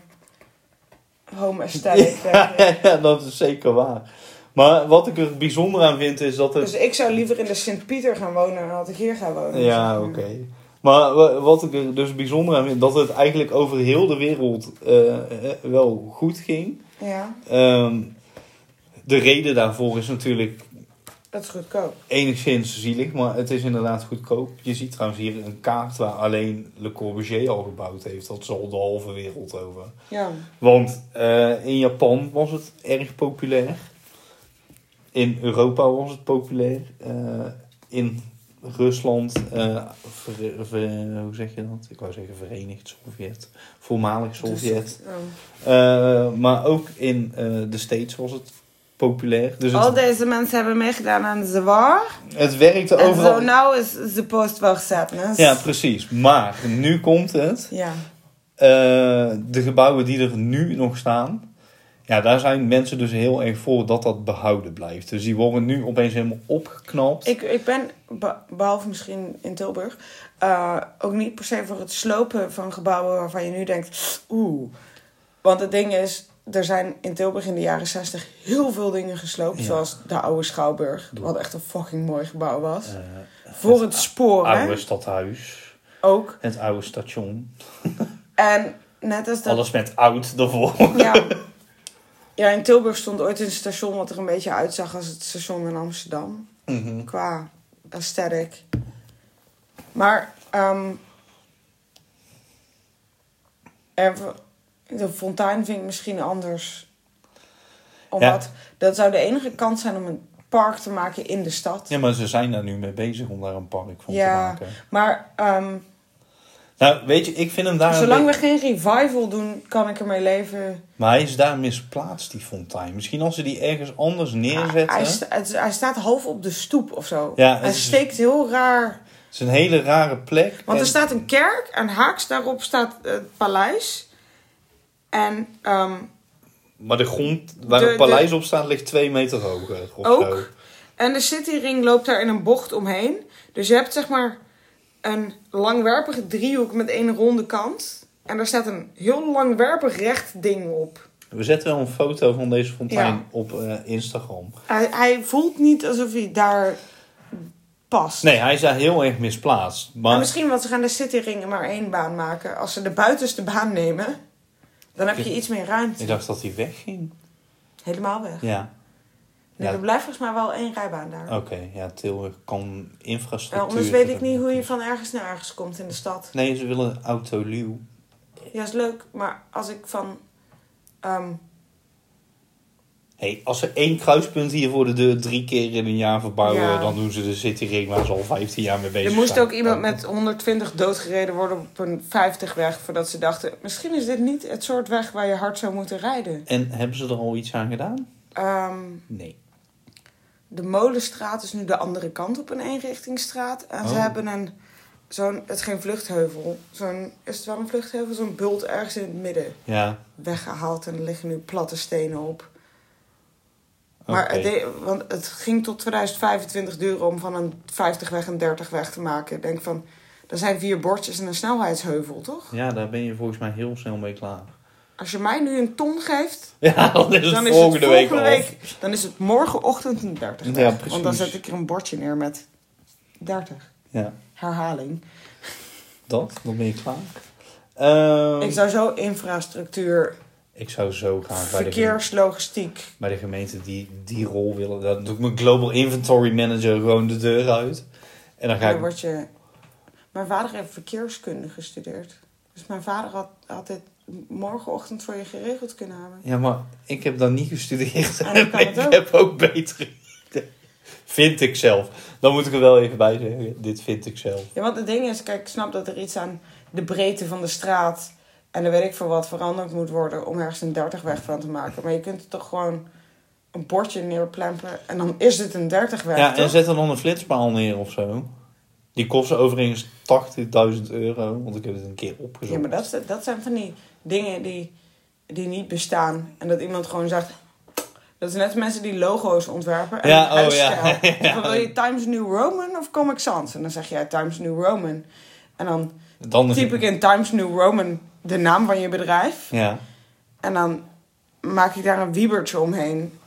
home aesthetic. eh. ja, ja, dat is zeker waar. Maar wat ik er bijzonder aan vind is dat het... Dus ik zou liever in de Sint-Pieter gaan wonen dan dat ik hier ga wonen. Ja, zeg oké. maar. Maar wa- wat ik er dus bijzonder aan vind, dat het eigenlijk over heel de wereld eh, eh, wel goed ging. Ja, Ehm, de reden daarvoor is natuurlijk dat is goedkoop. enigszins zielig, maar het is inderdaad goedkoop. Je ziet trouwens hier een kaart waar alleen Le Corbusier al gebouwd heeft. Dat is al de halve wereld over. Ja. Want eh, in Japan was het erg populair. In Europa was het populair. Eh, in Rusland, eh, ver- ver- hoe zeg je dat? Ik wou zeggen Verenigd Sovjet, voormalig Sovjet. Dus, oh. Eh, maar ook in eh, de States was het populair. Dus Al het, deze mensen hebben meegedaan aan de war. het werkte En zo overal. nou is de post wel sadness. Ja, precies. Maar nu komt het. ja. Eh, de gebouwen die er nu nog staan. Ja, daar zijn mensen dus heel erg voor dat dat behouden blijft. Dus die worden nu opeens helemaal opgeknapt. Ik, ik ben, be- behalve misschien in Tilburg, eh, ook niet per se voor het slopen van gebouwen waarvan je nu denkt, oeh. Want het ding is, er zijn in Tilburg in de jaren 60 heel veel dingen gesloopt. Ja. Zoals de oude Schouwburg, Doe. wat echt een fucking mooi gebouw was. Eh, voor het spoor, hè? oude stadhuis. Ook. Het oude station. En net als dat... Alles met oud ervoor. Ja. ja, in Tilburg stond ooit een station wat er een beetje uitzag als het station in Amsterdam. Mhm. qua aesthetic. Maar ehm er, de fontein vind ik misschien anders. Omdat dat zou de enige kans zijn om een park te maken in de stad. Ja, maar ze zijn daar nu mee bezig om daar een park van Ja. te maken. Maar ehm, Nou, weet je, ik vind hem daar... een zolang we beetje- geen revival doen, kan ik ermee leven. Maar hij is daar misplaatst, die fontein. Misschien als ze die ergens anders neerzetten. Hij, sta- het- hij staat half op de stoep of zo. Ja, het hij is- steekt heel raar. Het is een hele rare plek. Want er En- staat een kerk en haaks daarop staat het paleis. En ehm, Maar de grond waar De- het paleis op staat ligt twee meter hoger. Of ook. zo. En de cityring loopt daar in een bocht omheen. Dus je hebt zeg maar een langwerpige driehoek met één ronde kant. En daar staat een heel langwerpig recht ding op. We zetten wel een foto van deze fontein Ja. op eh, Instagram. Hij, hij voelt niet alsof hij daar past. Nee, hij is daar heel erg misplaatst. En Maar misschien, want ze gaan de cityring maar één baan maken. Als ze de buitenste baan nemen, dan heb je iets meer ruimte. ik dacht dat hij wegging. Helemaal weg. Ja, Nee, Ja. er Oh, blijft volgens mij wel één rijbaan daar. oké. Ja, Tilburg kan Ja, infrastructuur... anders weet ik niet hoe je van ergens naar ergens komt in de stad. Nee, ze willen autoluw. Ja, is leuk, maar als ik van. ehm, Hey, als ze één kruispunt hier voor de deur drie keer in een jaar verbouwen... Ja. dan doen ze de cityring waar ze al 15 jaar mee bezig er zijn. moest ook iemand met 120 doodgereden worden op een 50-weg voordat ze dachten: misschien is dit niet het soort weg waar je hard zou moeten rijden. En hebben ze er al iets aan gedaan? Ehm, Nee. de Molenstraat is nu de andere kant op een eenrichtingsstraat. En ze Oh. hebben een. Zo'n, het is geen vluchtheuvel. Zo'n, is het wel een vluchtheuvel? Zo'n bult ergens in het midden Ja, weggehaald en er liggen nu platte stenen op. oké. Maar het, deed- want het ging tot 2025 duren om van een 50 weg een 30 weg te maken. Ik denk van, er zijn vier bordjes en een snelheidsheuvel, toch? Ja, daar ben je volgens mij heel snel mee klaar. Als je mij nu een ton geeft, Ja, dan is het dan is het volgende, volgende week, week, dan is het morgenochtend een 30 weg. Ja, precies. Want dan zet ik er een bordje neer met 30. al. Ja, Herhaling. dat. Dan ben je klaar. Ehm, Ik zou zo infrastructuur, Ah, ik zou zo graag bij de, gem- verkeerslogistiek. bij de gemeente die, die rol willen. Dan doe ik mijn Global Inventory Manager gewoon de deur uit. En dan ga Dan ik... word je... Mijn vader heeft verkeerskunde gestudeerd. Dus mijn vader had, had dit morgenochtend voor je geregeld kunnen hebben. Ja, maar ik heb dat niet gestudeerd. Ah, dat kan ik het ook. heb ook betere ideeën. Vind ik zelf. Dan moet ik er wel even bij zeggen. Dit vind ik zelf. Ja, want het ding is, kijk, ik snap dat er iets aan de breedte van de straat en dan weet ik voor wat veranderd moet worden om ergens een 30 weg van te maken. Maar je kunt er toch gewoon een bordje neerplempen en dan is het een 30 weg. Ja, toch? en zet dan nog een flitspaal neer of zo. Die kosten overigens 80.000 euro. Want ik heb het een keer opgezocht. ja maar dat, is- dat zijn van die dingen die, die niet bestaan. En dat iemand gewoon zegt. Dat is net als mensen die logo's ontwerpen. En Ja, oh, huisstijl. ja. Ja. Van, Wil je Times New Roman of Comic Sans? En dan zeg jij Times New Roman. En dan Dan is het- typ ik in Times New Roman de naam van je bedrijf. Ja, En dan maak ik daar een wiebertje omheen.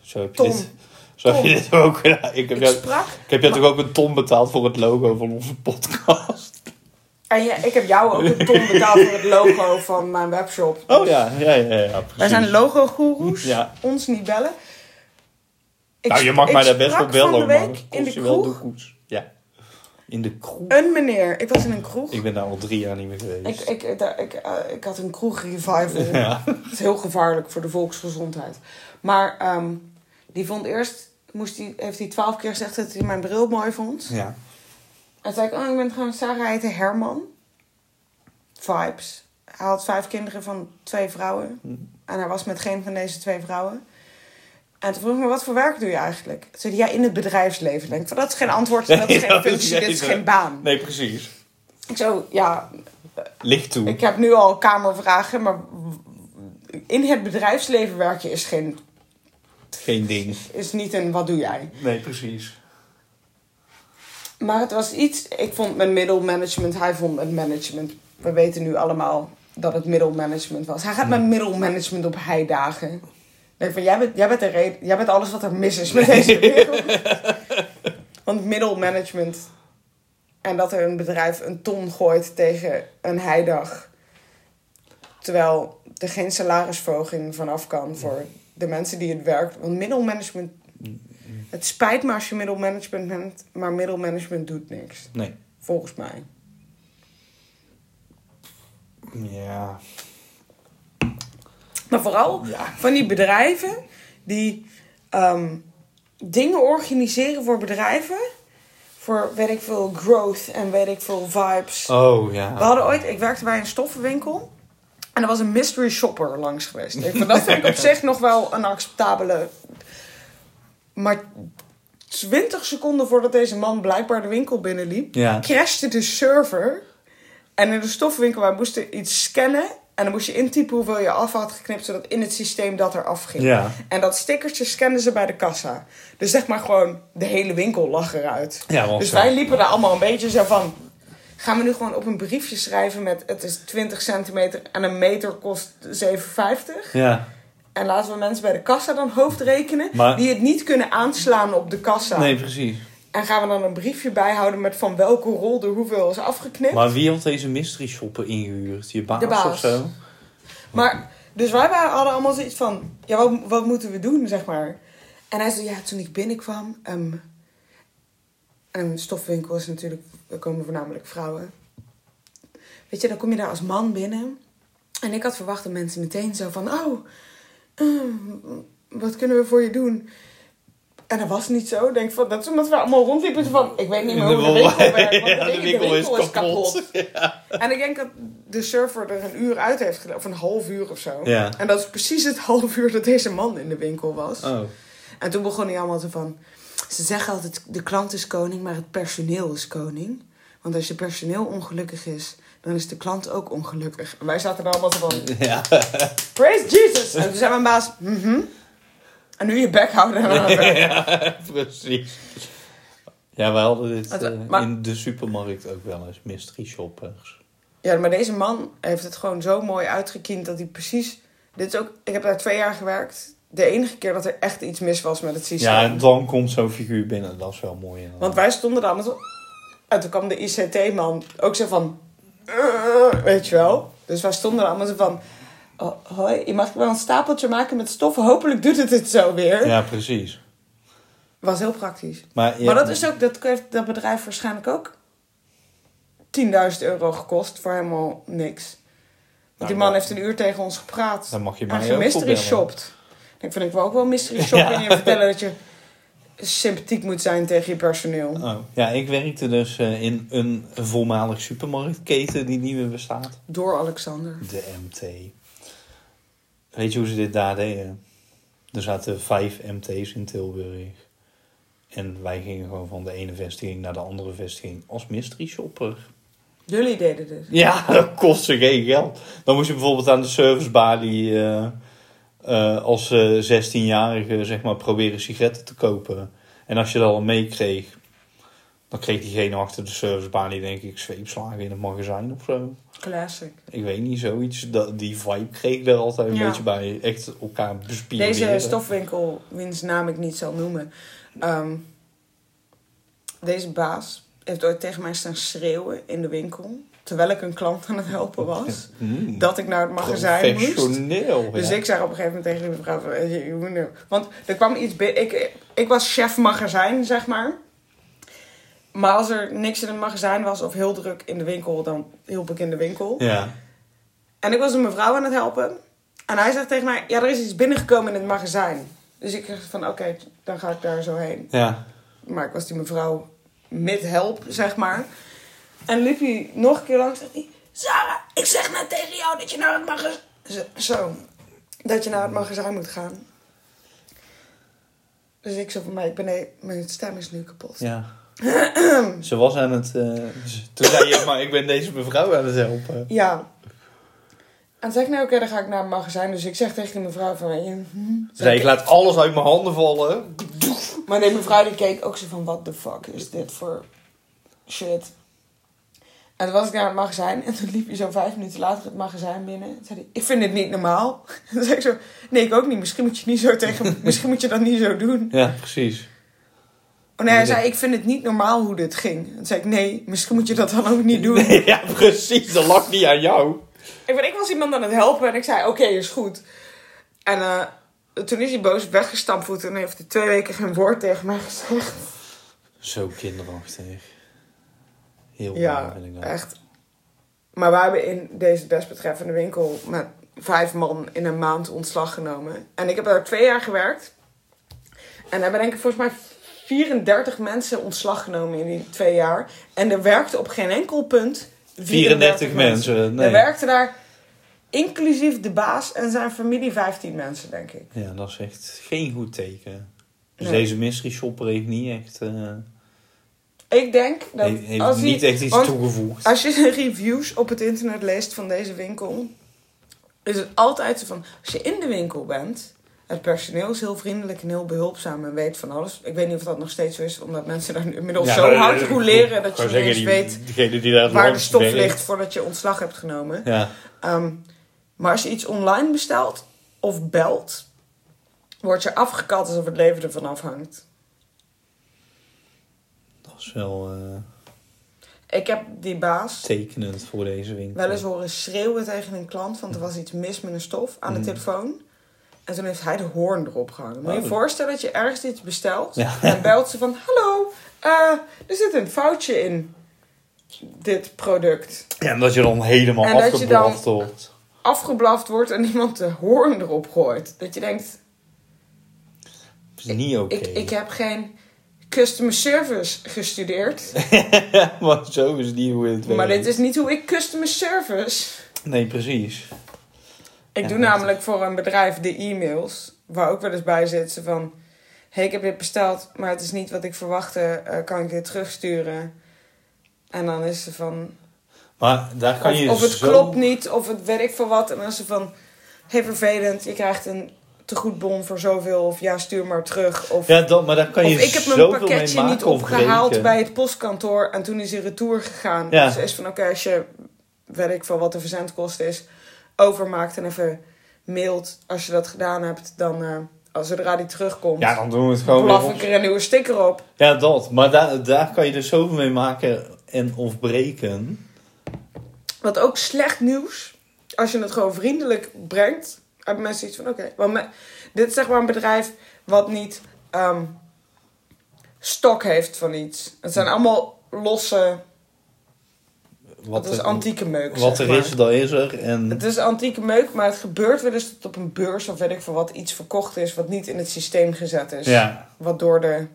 zo heb je Tom. dit. Zo heb je Tom. dit ook gedaan. Ik heb, Ik jou, sprak. ik heb jou toch ook een ton betaald voor het logo van onze podcast? En ja, ik heb jou ook een ton betaald voor het logo van mijn webshop. Oh ja, ja, ja, ja, ja precies. Wij zijn logo-goeroes. Ja. Ons niet bellen. Ik nou, je sp- mag ik mij daar best sprak op bellen, van de maar dat week kost in de je wel kroeg. doekoes. Ja. In de kroeg? Een meneer. Ik was in een kroeg. Ik ben daar al drie jaar niet meer Ik, geweest. ik, ik, daar- ik, eh, ik had een kroeg-revival. Ja. Dat is heel gevaarlijk voor de volksgezondheid. Maar ehm, die vond eerst... Moest die, heeft hij twaalf keer gezegd dat hij mijn bril mooi vond. Ja. En toen zei ik, oh, ik ben gewoon Sarah heette Herman. Vibes. Mhm. Hij had vijf kinderen van twee vrouwen. En hij was met geen van deze twee vrouwen. En toen vroeg ik me, wat voor werk doe je eigenlijk? Toen zei hij, ja, in het bedrijfsleven. Denk ik, van, dat is geen antwoord, dat is Nee, geen dat is functie, dit is geen- eh, geen baan. Nee, precies. Ik zo, ja, Licht toe. ik heb nu al kamervragen, maar in het bedrijfsleven werk je is, geen, Geen ding. is niet een wat doe jij. Nee, precies. Maar het was iets, ik vond mijn middelmanagement, hij vond mijn management. We weten nu allemaal dat het middelmanagement was. Hij gaat met middelmanagement op heidagen. Ik Denk van, jij bent, jij, bent de reden, jij bent alles wat er mis is met deze wereld. Want middelmanagement en dat er een bedrijf een ton gooit tegen een heidag. Terwijl er geen salarisverhoging vanaf kan voor de mensen die het werkt. Want middelmanagement het spijt me als je middelmanagement bent, maar middelmanagement doet niks. Nee. Volgens mij. Ja. Maar vooral Ja. van die bedrijven die ehm, dingen organiseren voor bedrijven. Voor weet ik veel growth en weet ik veel vibes. Oh, ja. We hadden ooit, ik werkte bij een stoffenwinkel. En er was een mystery shopper langs geweest. Ik vond dat vind ik op zich nog wel een acceptabele. Maar 20 seconden voordat deze man blijkbaar de winkel binnenliep, Ja. crashte de server. En in de stoffenwinkel, wij moesten iets scannen. En dan moest je intypen hoeveel je af had geknipt, zodat in het systeem dat er afging. Ja. En dat stickertje scannen ze bij de kassa. Dus zeg maar gewoon, de hele winkel lag eruit. Ja, want dus zo. wij liepen daar allemaal een beetje zo van... Gaan we nu gewoon op een briefje schrijven met het is 20 centimeter en een meter kost 7,50? Ja. En laten we mensen bij de kassa dan hoofdrekenen Maar- die het niet kunnen aanslaan op de kassa. Nee, precies. En gaan we dan een briefje bijhouden met van welke rol er hoeveel is afgeknipt? Maar wie had deze mystery shopper ingehuurd? Je baas, De baas. of zo? Maar, dus wij waren, hadden allemaal zoiets van, ja, wat, wat moeten we doen, zeg maar. En hij zei, ja, toen ik binnenkwam, ehm een stofwinkel is natuurlijk, er komen voornamelijk vrouwen. Weet je, dan kom je daar als man binnen. En ik had verwacht dat mensen meteen zo van, oh, ehm, wat kunnen we voor je doen? En dat was niet zo. Ik Denk van, dat is omdat we allemaal rondliepen zo van, ik weet niet meer hoe de winkel werkt. want Ja, ik denk, en ik denk dat de server er een uur uit heeft gedaan, of een half uur of zo. Ja. En dat is precies het half uur dat deze man in de winkel was. Oh. En toen begon hij allemaal te van. Ze zeggen altijd: de klant is koning, maar het personeel is koning. Want als je personeel ongelukkig is, dan is de klant ook ongelukkig. En wij zaten er allemaal zo van: Ja. Praise Jesus! En toen zei mijn baas: mhm. En nu je bek houden. en aan het werk." ja, precies. Ja, wij hadden dit Het- eh, maar- in de supermarkt ook wel eens mystery shoppers. Ja, maar deze man heeft het gewoon zo mooi uitgekiend dat hij precies. Dit is ook. Ik heb daar twee jaar gewerkt. De enige keer dat er echt iets mis was met het systeem. Ja, en dan komt zo'n figuur binnen. Dat is wel mooi. inderdaad. Want wij stonden daar met. zo- En toen kwam de ICT-man ook zo van. "Eh," weet je wel. Dus wij stonden daar allemaal zo van. "Oh, hoi, je mag wel een stapeltje maken met stoffen. Hopelijk doet het het zo weer. Ja, precies. Was heel praktisch. Maar, ja, Maar dat, is ook, dat heeft dat bedrijf waarschijnlijk ook 10.000 euro gekost voor helemaal niks. Want Nou, die man dat- heeft een uur tegen ons gepraat. Dan mag je en mij ook gemystery opbellen. shopt. Ik vind ik wil ook wel mystery shoppen en je vertellen dat je sympathiek moet zijn tegen je personeel. Oh, ja, ik werkte dus eh, in een voormalig supermarktketen die niet meer bestaat. Door Alexander. De MT. Weet je hoe ze dit daar deden? Er zaten vijf MT's in Tilburg. En wij gingen gewoon van de ene vestiging naar de andere vestiging als mystery shopper. Jullie deden dit. Ja, dat kostte geen geld. Dan moest je bijvoorbeeld aan de servicebar die eh, eh, als eh, 16-jarige zeg maar proberen sigaretten te kopen. En als je dat al meekreeg, dan kreeg diegene achter de servicebar die denk ik zweepslagen in het magazijn of zo. Classic. Ik weet niet, zoiets. Dat, die vibe kreeg ik er altijd een Ja. beetje bij. Echt elkaar bespieren. Deze stofwinkel, wiens naam ik niet zal noemen. ehm, deze baas heeft ooit tegen mij staan schreeuwen in de winkel. Terwijl ik een klant aan het helpen was. Mm, Dat ik naar het magazijn moest. Professioneel. ja. Dus ik zei op een gegeven moment tegen die mevrouw... van, eh, je- je moet nu- Want er kwam iets binnen... Ik, ik was chef magazijn, zeg maar. Maar als er niks in het magazijn was of heel druk in de winkel... dan hielp ik in de winkel. Ja. En ik was een mevrouw aan het helpen. En hij zegt tegen mij, ja, er is iets binnengekomen in het magazijn. Dus ik zeg van, oké, dan ga ik daar zo heen. Ja. Maar ik was die mevrouw met help, zeg maar. En liep hij nog een keer langs en hij... Sarah, ik zeg net tegen jou dat je naar het magazijn... Zo, dat je naar het magazijn moet gaan. Dus ik zo van mij, ik ben nee, mijn stem is nu kapot. Ja. ze was aan het... eh, ze- toen zei je, maar ik ben deze mevrouw aan het helpen. Ja. En toen zei ik, nou oké, dan ga ik naar het magazijn. Dus ik zeg tegen die mevrouw van, weet je, hm. Ze zei, ik laat alles uit mijn handen vallen. Maar nee, mevrouw die keek ook zo van, what the fuck is dit voor shit. En toen was ik naar het magazijn en toen liep je zo vijf minuten later het magazijn binnen. Toen zei hij, ik vind dit niet normaal. Toen zei ik zo, nee ik ook niet, misschien moet je, niet zo tegen, misschien moet je dat niet zo doen. Ja, precies. Oh nee, hij zei, ik vind het niet normaal hoe dit ging. Toen zei ik, nee, misschien moet je dat dan ook niet doen. Nee, ja, precies. Dat lag niet aan jou. Ik, ben, ik was iemand aan het helpen en ik zei, oké, is goed. En eh, toen is hij boos weggestampt en heeft hij twee weken geen woord tegen mij gezegd. Zo kinderachtig. Heel raar Ja, Eh. vind ik dat. echt. Maar we hebben in deze desbetreffende winkel met vijf man in een maand ontslag genomen. En ik heb daar twee jaar gewerkt. En hebben denk ik volgens mij 34 mensen ontslag genomen in die twee jaar. En er werkte op geen enkel punt 34 mensen, nee. Er werkte daar inclusief de baas en zijn familie 15 mensen, denk ik. Ja, dat is echt geen goed teken. Dus Nee. deze mystery shopper heeft niet echt, eh, Ik denk dat heeft, heeft als die- niet echt iets want- toegevoegd. Als je de reviews op het internet leest van deze winkel, is het altijd zo van: als je in de winkel bent, het personeel is heel vriendelijk en heel behulpzaam en weet van alles. Ik weet niet of dat nog steeds zo is, omdat mensen daar nu inmiddels zo nou, eh, hard roleren dat je niet eens weet Degene die daar het waar de langst stof werkt. ligt voordat je ontslag hebt genomen. Ja, Ehm, maar als je iets online bestelt of belt, word je afgekald alsof het leven ervan afhangt. dat is wel eh, Ik heb die baas tekenend voor deze winkel. wel eens horen schreeuwen tegen een klant, want er was iets mis met een stof aan de telefoon. En toen heeft hij de hoorn erop gehangen. Moet je je Mm. Oh. voorstellen dat je ergens iets bestelt Ja. en belt ze van: Hallo, eh, er zit een foutje in dit product. Ja, en dat je dan helemaal En dat je afgeblaft wordt. Afgeblaft wordt en iemand de hoorn erop gooit. Dat je denkt: Dat is niet oké. ik, ik heb geen customer service gestudeerd, maar zo is het niet hoe het werkt. maar dit is niet hoe ik customer service. Nee, precies. Ik Ja, doe dat- namelijk voor een bedrijf de e-mails, waar ook wel eens bij zit ze van... hey, ik heb dit besteld, maar het is niet wat ik verwachtte. eh, kan ik dit terugsturen? En dan is ze van... Maar daar kan Of, je of het zo... klopt niet, of het weet ik voor wat. En dan is ze van... hey, vervelend, je krijgt een tegoedbon voor zoveel. Of ja, stuur maar terug. Of, Ja, dat, maar daar kan je of ik heb zoveel mijn pakketje mee niet maken of opgehaald breken. bij het postkantoor. En toen is hij retour gegaan. Ja. Dus ze is van, oké, als je, weet ik veel wat de verzendkosten is, overmaakt en even mailt. Als je dat gedaan hebt, dan eh, als zodra die terugkomt, Ja, dan doen we het gewoon weer blaf op. ik er een nieuwe sticker op. Ja, dat. Maar daar, daar kan je dus zoveel mee maken en of breken. Wat ook slecht nieuws, als je het gewoon vriendelijk brengt, hebben mensen iets van: oké, want me- dit is zeg maar een bedrijf wat niet ehm, stok heeft van iets. Het zijn allemaal losse, Wat, dat is er- antieke meuk. wat zeg er maar. is, dat is er. En Het is antieke meuk, maar het gebeurt wel eens dat op een beurs of weet ik veel wat iets verkocht is wat niet in het systeem gezet is. ja. Wat door de,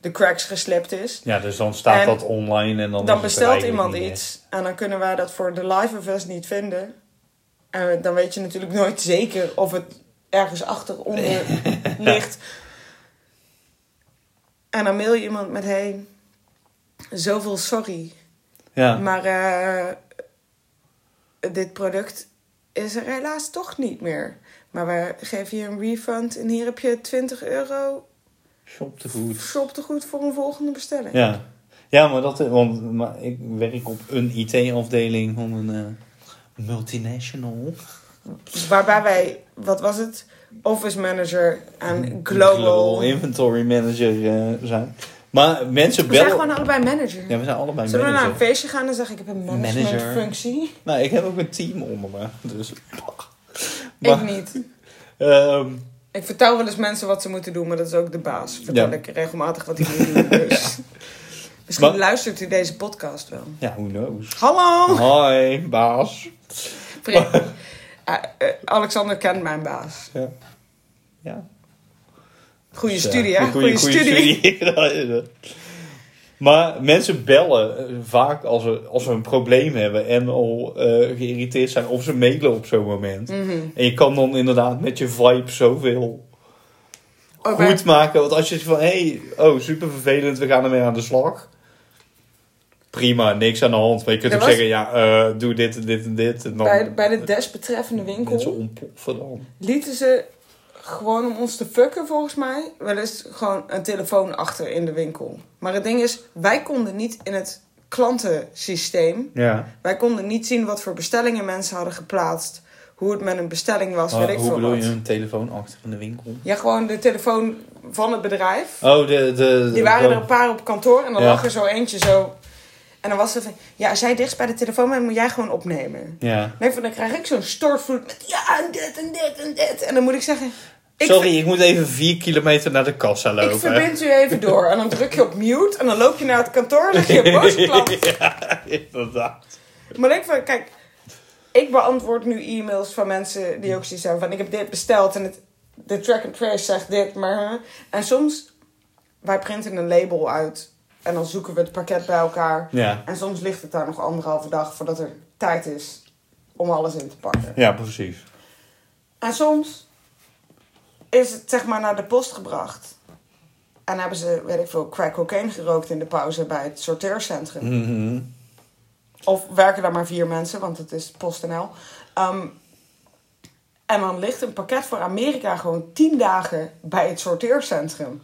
de cracks geslept is. ja, dus dan staat En dat online en Dan, dan. is het er bestelt eigenlijk iemand niet meer. iets en dan kunnen wij dat voor de live events niet vinden. En dan weet je natuurlijk nooit zeker of het ergens achter onder ligt. En dan mail je iemand met: hey, zoveel sorry. Ja. Maar eh, dit product is er helaas toch niet meer. Maar we geven je een refund en hier heb je 20 euro Shop te goed. shop te goed voor een volgende bestelling. Ja. Ja, maar dat. Want maar ik werk op een IT-afdeling van een eh, multinational. Waarbij wij, wat was het? Office manager en global. Inventory Manager eh, zijn. Maar mensen we zijn bellen. gewoon allebei manager. Ja, we zijn allebei Zullen we naar manager. een feestje gaan en zeggen ik heb een Manager. managementfunctie? Nou, ik heb ook een team onder me. Dus. Ik Maar, niet. ehm, Ik vertel wel eens mensen wat ze moeten doen, maar dat is ook de baas. Vertel Ja. ik regelmatig wat hij moet doen. Dus. Misschien Maar- luistert u deze podcast wel. ja, who knows. Hallo! Hoi, baas. Prik. Eh, eh, Alexander kent mijn baas. Ja. ja. Goede Dus, eh, studie, hè? een goede- Goede goede studie. studie. Dat is het. maar mensen bellen eh, vaak als ze, als ze een probleem hebben en al eh, geïrriteerd zijn of ze mailen op zo'n moment. Mhm. En je kan dan inderdaad met je vibe zoveel Oh, bij- goed maken. Want als je zegt van, hé, hey, oh, super vervelend, we gaan ermee aan de slag. Prima, niks aan de hand. Maar je kunt Er ook was- zeggen, ja, eh, doe dit en dit en dit. En dan bij, bij de desbetreffende mensen winkel ontploffen dan. lieten ze gewoon om ons te fucken, volgens mij, wel eens gewoon een telefoon achter in de winkel. Maar het ding is, wij konden niet in het klantensysteem, Ja, wij konden niet zien wat voor bestellingen mensen hadden geplaatst, hoe het met een bestelling was, weet Maar ik Ah, hoe veel bedoel wat. je een telefoon achter in de winkel? Ja, gewoon de telefoon van het bedrijf. Oh, de... de Die waren de- er een paar op kantoor en dan Ja. lag er zo eentje zo. En dan was het van, ja, als jij dichtst bij de telefoon bent, moet jij gewoon opnemen. Ja. Nee, van dan krijg ik zo'n stortvloed met ja, en dit en dit en dit. En dan moet ik zeggen, ik, Sorry, ik moet even vier kilometer naar de kassa ver- lopen. ik verbind u even door. En dan druk je op mute en dan loop je naar het kantoor en dan leg je een boze klant. ja, inderdaad. Maar ik van, kijk, ik beantwoord nu e-mails van mensen die ook zoiets hebben van, ik heb dit besteld en het, de track and trace zegt dit, maar... hè. En soms, wij printen een label uit en dan zoeken we het pakket bij elkaar. Ja. En soms ligt het daar nog anderhalve dag voordat er tijd is om alles in te pakken. ja, precies. En soms is het zeg maar naar de post gebracht. En hebben ze, weet ik veel, crack cocaine gerookt in de pauze bij het sorteercentrum. Mhm. Of werken daar maar vier mensen, want het is PostNL. Ehm en dan ligt een pakket voor Amerika gewoon tien dagen bij het sorteercentrum.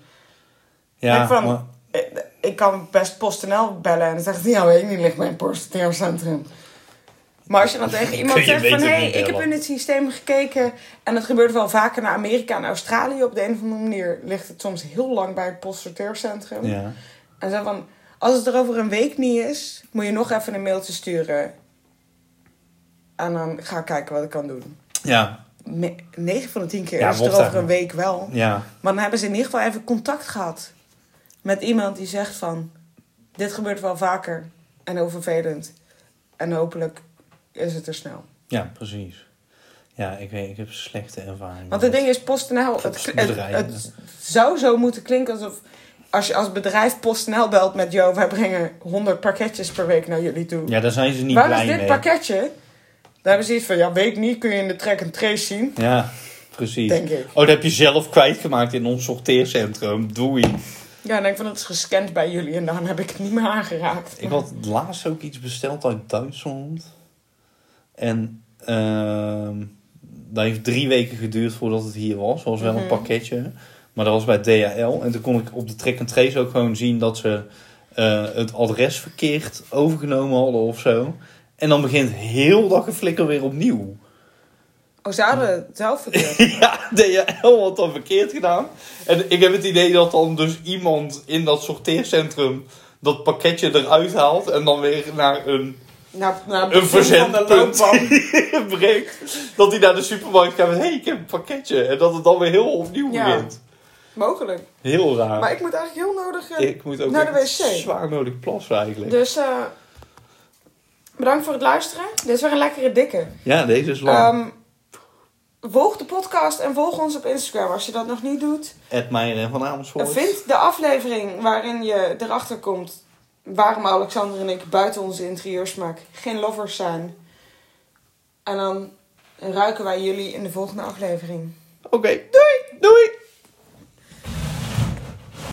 Ja, ik, van, maar- eh, ik kan best PostNL bellen en dan zegt hij, ja, weet ik niet, ligt mijn sorteercentrum. Maar als je dan tegen iemand Kun je zegt van, hé, beter hey, niet ik heb bellen. in het systeem gekeken... en dat gebeurt wel vaker naar Amerika en Australië op de een of andere manier... ligt het soms heel lang bij het postsorteercentrum. ja. En zo van, als het er over een week niet is, moet je nog even een mailtje sturen. En dan ga ik kijken wat ik kan doen. Ja, 9 van de 10 keer Ja, is het er wordt over daar- een week wel. ja. Maar dan hebben ze in ieder geval even contact gehad. Met iemand die zegt van, dit gebeurt wel vaker. En heel vervelend. En hopelijk is het er snel. Ja, precies. Ja, ik weet, ik heb slechte ervaringen. Want het ding is, PostNL, het, kl- het, Groepsbedrijven. het zou zo moeten klinken alsof... Als je als bedrijf PostNL belt met... Jo, wij brengen 100 pakketjes per week naar jullie toe. Ja, daar zijn ze niet Waar blij is dit mee. pakketje? Daar hebben ze iets van, ja, weet niet, kun je in de track and trace zien. Ja, precies. Denk ik. Oh, dat heb je zelf kwijtgemaakt in ons sorteercentrum. Doei. Ja, en ik van, dat is gescand bij jullie en dan heb ik het niet meer aangeraakt. Ik had laatst ook iets besteld uit Duitsland. En ehm, dat heeft drie weken geduurd voordat het hier was. was Mhm. wel een pakketje. Maar dat was bij DHL. En toen kon ik op de track and trace ook gewoon zien dat ze eh, het adres verkeerd overgenomen hadden of zo. En dan begint heel dat geflikker weer opnieuw. Oh, ze hadden het zelf verkeerd. Ja, DHL had dan verkeerd gedaan. En ik heb het idee dat dan dus iemand in dat sorteercentrum dat pakketje eruit haalt en dan weer naar een Na, na het Een begin van de verzendpunt. loopbaan. breekt. Dat hij naar de supermarkt gaat met, hé, hey, ik heb een pakketje. En dat het dan weer heel opnieuw Ja. begint. Mogelijk. Heel raar. Maar ik moet eigenlijk heel nodig... eh, ik moet ook naar de echt wc. zwaar nodig plassen eigenlijk. Dus eh, bedankt voor het luisteren. Dit is weer een lekkere dikke. Ja, deze is lang. Ehm volg de podcast en volg ons op Instagram als je dat nog niet doet. Ed Meijer en Van Amersfoort. Vind de aflevering waarin je erachter komt waarom Alexander en ik buiten onze interieursmaak geen lovers zijn. En dan ruiken wij jullie in de volgende aflevering. Oké, doei!